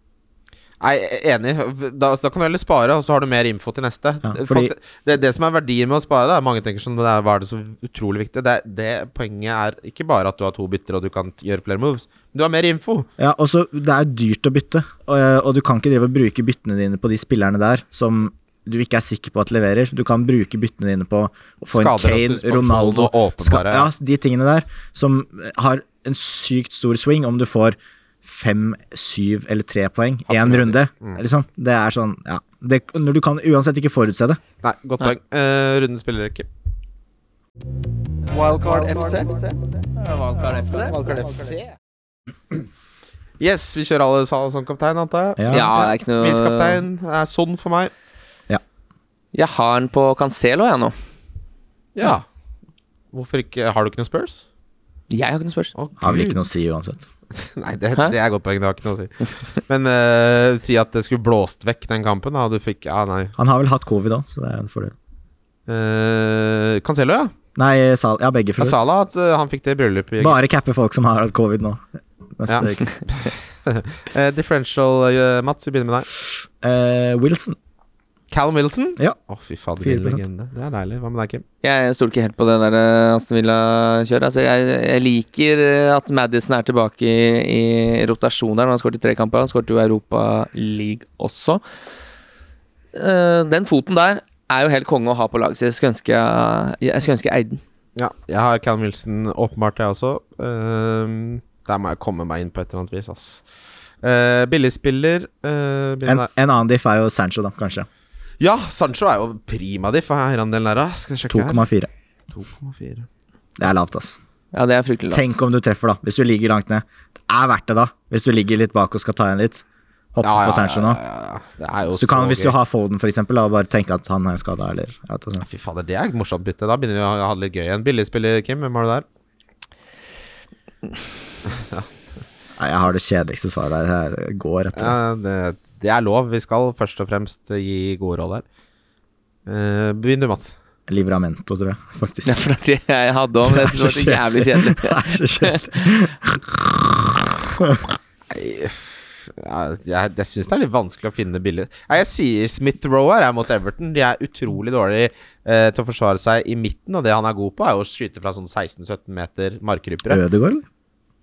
Speaker 3: Nei, enig. Da, da kan du heller spare, og så har du mer info til neste.
Speaker 2: Ja, fordi-
Speaker 3: Fakt- det, det som er verdien med å spare, da, mange tenker sånn det er, Hva er det så utrolig viktig? Det, det Poenget er ikke bare at du har to bytter og du kan gjøre flere moves, men du har mer info.
Speaker 2: Ja, og så Det er jo dyrt å bytte, og, eh, og du kan ikke drive og bruke byttene dine på de spillerne der som du ikke er sikker på at leverer. Du kan bruke byttene dine på å få en
Speaker 3: Skader og
Speaker 2: Kane,
Speaker 3: suspensjon
Speaker 2: Ronaldo
Speaker 3: og
Speaker 2: ska-
Speaker 3: åpenbare-
Speaker 2: Ja, De tingene der som har en sykt stor swing om du får fem, syv eller tre poeng én
Speaker 3: Absolutt.
Speaker 2: runde. Liksom. Det er sånn, ja det, Når du kan uansett ikke forutse det.
Speaker 3: Nei, godt poeng. Eh, runden spiller ikke.
Speaker 1: Wildcard FC.
Speaker 4: Valgkart FC?
Speaker 1: Wildcard FC.
Speaker 3: Yes, vi kjører alle sal som kaptein, antar jeg.
Speaker 4: Ja, det er ikke noe
Speaker 3: Visekaptein er sånn for meg.
Speaker 4: Jeg har den på Cancelo, jeg nå.
Speaker 3: Ja. Hvorfor ikke? Har du ikke noe Spurs?
Speaker 4: Jeg har ikke noe spørsmål.
Speaker 3: Å,
Speaker 2: Har vel
Speaker 3: Gud.
Speaker 2: ikke noe å si uansett.
Speaker 3: Nei, det,
Speaker 4: Hæ?
Speaker 3: det er godt poeng. Det har ikke noe å si. Men eh, si at det skulle blåst vekk den kampen, da. Du fikk Ja, nei.
Speaker 2: Han har vel hatt covid òg, så det er en fordel.
Speaker 3: Uh, Cancelo, ja.
Speaker 2: Nei, Sal, ja, begge.
Speaker 3: ja
Speaker 2: for så vidt.
Speaker 3: Salah, at eh, han fikk det i bryllupet. i-
Speaker 2: Bare cappe folk som har hatt covid nå. Neste
Speaker 3: Ja.
Speaker 2: uke.
Speaker 3: Eh, differential, eh, Mats, vi begynner med deg.
Speaker 2: Eh, Wilson.
Speaker 3: Callum Wilson.
Speaker 2: Ja.
Speaker 3: Å, fy fader,
Speaker 2: 4%.
Speaker 3: en legende. Det er deilig. Hva med deg, Kim?
Speaker 4: Jeg stoler ikke helt på det der eh, Aston Villa-kjøret. Altså, jeg, jeg liker eh, at Madison er tilbake i, i rotasjon der. Han har skåret i tre kamper. Han skåret jo i Europa League også. Eh, Den foten der er jo helt konge å ha på laget sitt. Jeg skulle ønske jeg, jeg, skulle ønske jeg eide den.
Speaker 3: Ja, jeg har Callum Wilson åpenbart, jeg også. Eh, der må jeg komme meg inn på et eller annet vis, ass. Eh, billigspiller eh, begynn
Speaker 2: En,
Speaker 3: der.
Speaker 2: en annen diff er jo Sancho, da, kanskje.
Speaker 3: Ja, Sancho er jo prima diff. Hva er andelen der, da? Skal jeg sjekke
Speaker 2: 2,4.
Speaker 3: her. 2,4
Speaker 2: Det er lavt, ass.
Speaker 4: Ja, det er fryktelig lavt.
Speaker 2: Tenk om du treffer, da. Hvis du ligger langt ned. Det er verdt det, da. Hvis du ligger litt bak og skal ta igjen litt. Hoppe på Sancho nå.
Speaker 3: Ja, ja, ja. Det er jo
Speaker 2: Så du kan, hvis
Speaker 3: gøy.
Speaker 2: du har Foden, for eksempel, da, og bare tenke at han er skada, eller jeg vet ikke.
Speaker 3: Fy fader, det er et morsomt bytte. Da begynner vi å ha det litt gøy igjen. Billigspiller, Kim. Hvem har du der?
Speaker 2: Nei, Jeg har det kjedeligste svaret der. Jeg går etter.
Speaker 3: Ja, det, det er lov. Vi skal først og fremst gi gode råd her. Eh, Begynn du, Mats.
Speaker 2: Livramento, tror jeg, faktisk.
Speaker 4: Ja, for det jeg hadde òg, men jeg synes det var så jævlig kjedelig.
Speaker 2: Det er så kjedelig.
Speaker 3: Jeg, jeg, jeg syns det er litt vanskelig å finne billig Nei, Jeg sier Smith Roe her er mot Everton. De er utrolig dårlige eh, til å forsvare seg i midten, og det han er god på, er jo å skyte fra sånn 16-17 meter markrypere.
Speaker 2: Ødegaard, eller?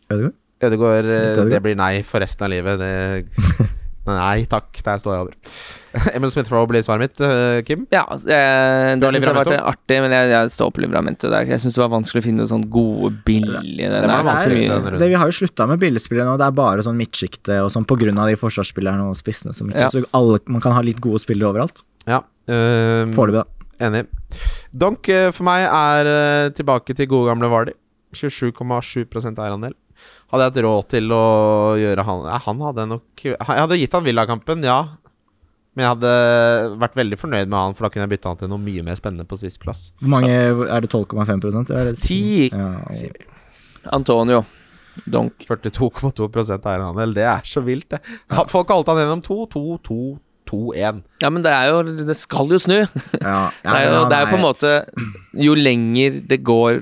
Speaker 2: Ødegaard?
Speaker 3: Ødegaard, eh,
Speaker 2: Ødegaard.
Speaker 3: det blir nei for resten av livet. Det, nei takk, der står jeg over. Emil Smith-Roe blir svaret mitt, eh, Kim.
Speaker 4: Ja, altså, eh,
Speaker 3: Du har
Speaker 4: det syns jeg har vært
Speaker 3: Livramento?
Speaker 4: artig, men jeg, jeg står på Livramento. der. Jeg syns det var vanskelig å finne sånn gode, billige Det,
Speaker 3: var
Speaker 4: er
Speaker 3: vanskelig,
Speaker 4: så mye-
Speaker 3: det.
Speaker 2: det, vi har jo slutta med billedspillere nå. Det er bare sånn midtsjikte og sånn på grunn av de forsvarsspillerne og spissene som ikke
Speaker 4: Ja.
Speaker 2: Så alle, man kan ha litt gode spillere overalt.
Speaker 3: Ja, eh,
Speaker 2: Foreløpig, da.
Speaker 3: Enig. Donk eh, for meg er eh, tilbake til gode gamle Vardy. 27,7 eierandel. Hadde jeg hatt råd til å gjøre han Nei, Han hadde nok Jeg hadde gitt han Villa-kampen, ja. Men jeg hadde vært veldig fornøyd med han, for da kunne jeg bytte han til noe mye mer spennende på sviss plass.
Speaker 2: Hvor mange Er det 12,5 prosent, eller er det
Speaker 3: 10,
Speaker 2: Ja,
Speaker 3: sier
Speaker 2: og-
Speaker 4: Antonio. Donk.
Speaker 3: 42,2 eierandel. Det er så vilt, det. Ha- Folk har holdt han gjennom 2, 2, 2, 2, 1.
Speaker 4: Ja, men det er jo Det skal jo snu.
Speaker 2: ja, ja,
Speaker 4: det, er jo,
Speaker 2: men
Speaker 4: det er
Speaker 2: han
Speaker 4: jo på en måte Jo lenger det går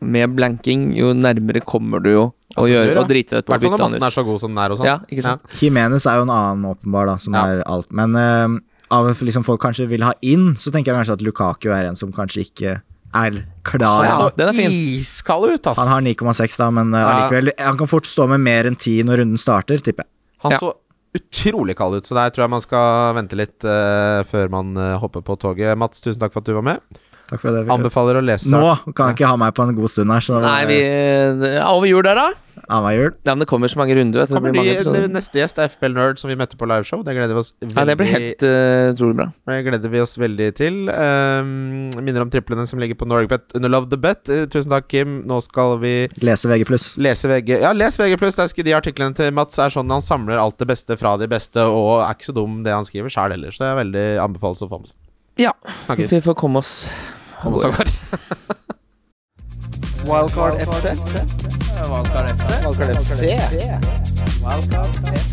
Speaker 4: med blanking, jo nærmere kommer du jo å
Speaker 3: det snur,
Speaker 4: gjøre
Speaker 3: ja.
Speaker 4: å drite
Speaker 3: I
Speaker 4: deg ut på å
Speaker 3: hvert fall
Speaker 4: bytte
Speaker 3: når
Speaker 4: han
Speaker 3: matten er
Speaker 4: ut.
Speaker 3: så god som den er. Og sånn.
Speaker 4: Ja, ikke sant?
Speaker 2: Jimenez er jo en annen åpenbar, da, som
Speaker 3: Ja.
Speaker 2: er alt. Men eh, av liksom folk kanskje vil ha inn, så tenker jeg kanskje at Lukaku er en som kanskje ikke er klar.
Speaker 4: Ja,
Speaker 3: Så
Speaker 4: den er fin.
Speaker 3: iskald ut, ass!
Speaker 2: Han har 9,6, da, men eh,
Speaker 3: Ja.
Speaker 2: allikevel Han kan fort stå med mer enn 10 når runden starter, tipper jeg.
Speaker 3: Han
Speaker 4: Ja.
Speaker 3: så utrolig kald ut, så der tror jeg man skal vente litt eh, før man eh, hopper på toget. Mats, tusen takk for at du var med.
Speaker 2: Takk for det. Wilfred.
Speaker 3: Anbefaler å lese
Speaker 2: Nå kan han ikke ha meg på en god stund her, så eh,
Speaker 4: Nei, vi det er Over jul der, da?
Speaker 2: av meg jul.
Speaker 4: Ja, men det kommer så mange runder. Vet du. Det
Speaker 3: Kommer
Speaker 4: blir mange
Speaker 3: de,
Speaker 4: episoder.
Speaker 3: neste gjest er FPL Nerd, som vi møtte på liveshow. Det gleder vi oss veldig,
Speaker 4: Ja, det blir helt eh, utrolig bra.
Speaker 3: det gleder vi oss veldig til. Um, minner om triplene som ligger på Norwegbet under Love the Bet. Eh, tusen takk, Kim. Nå skal vi
Speaker 2: Lese VG+.
Speaker 3: lese VG. Ja, les VG+. Der skal de artiklene til Mats er sånn han samler alt det beste fra de beste, og er ikke så dum det han skriver sjæl heller. Så det er veldig anbefales å få med seg.
Speaker 4: Ja,
Speaker 3: Snakkes. sånn
Speaker 4: vi får komme oss
Speaker 3: Kom oss av gårde.
Speaker 1: Wildcard FC. Wildcard FC. Wildcard FC.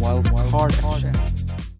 Speaker 1: Wildcard FC.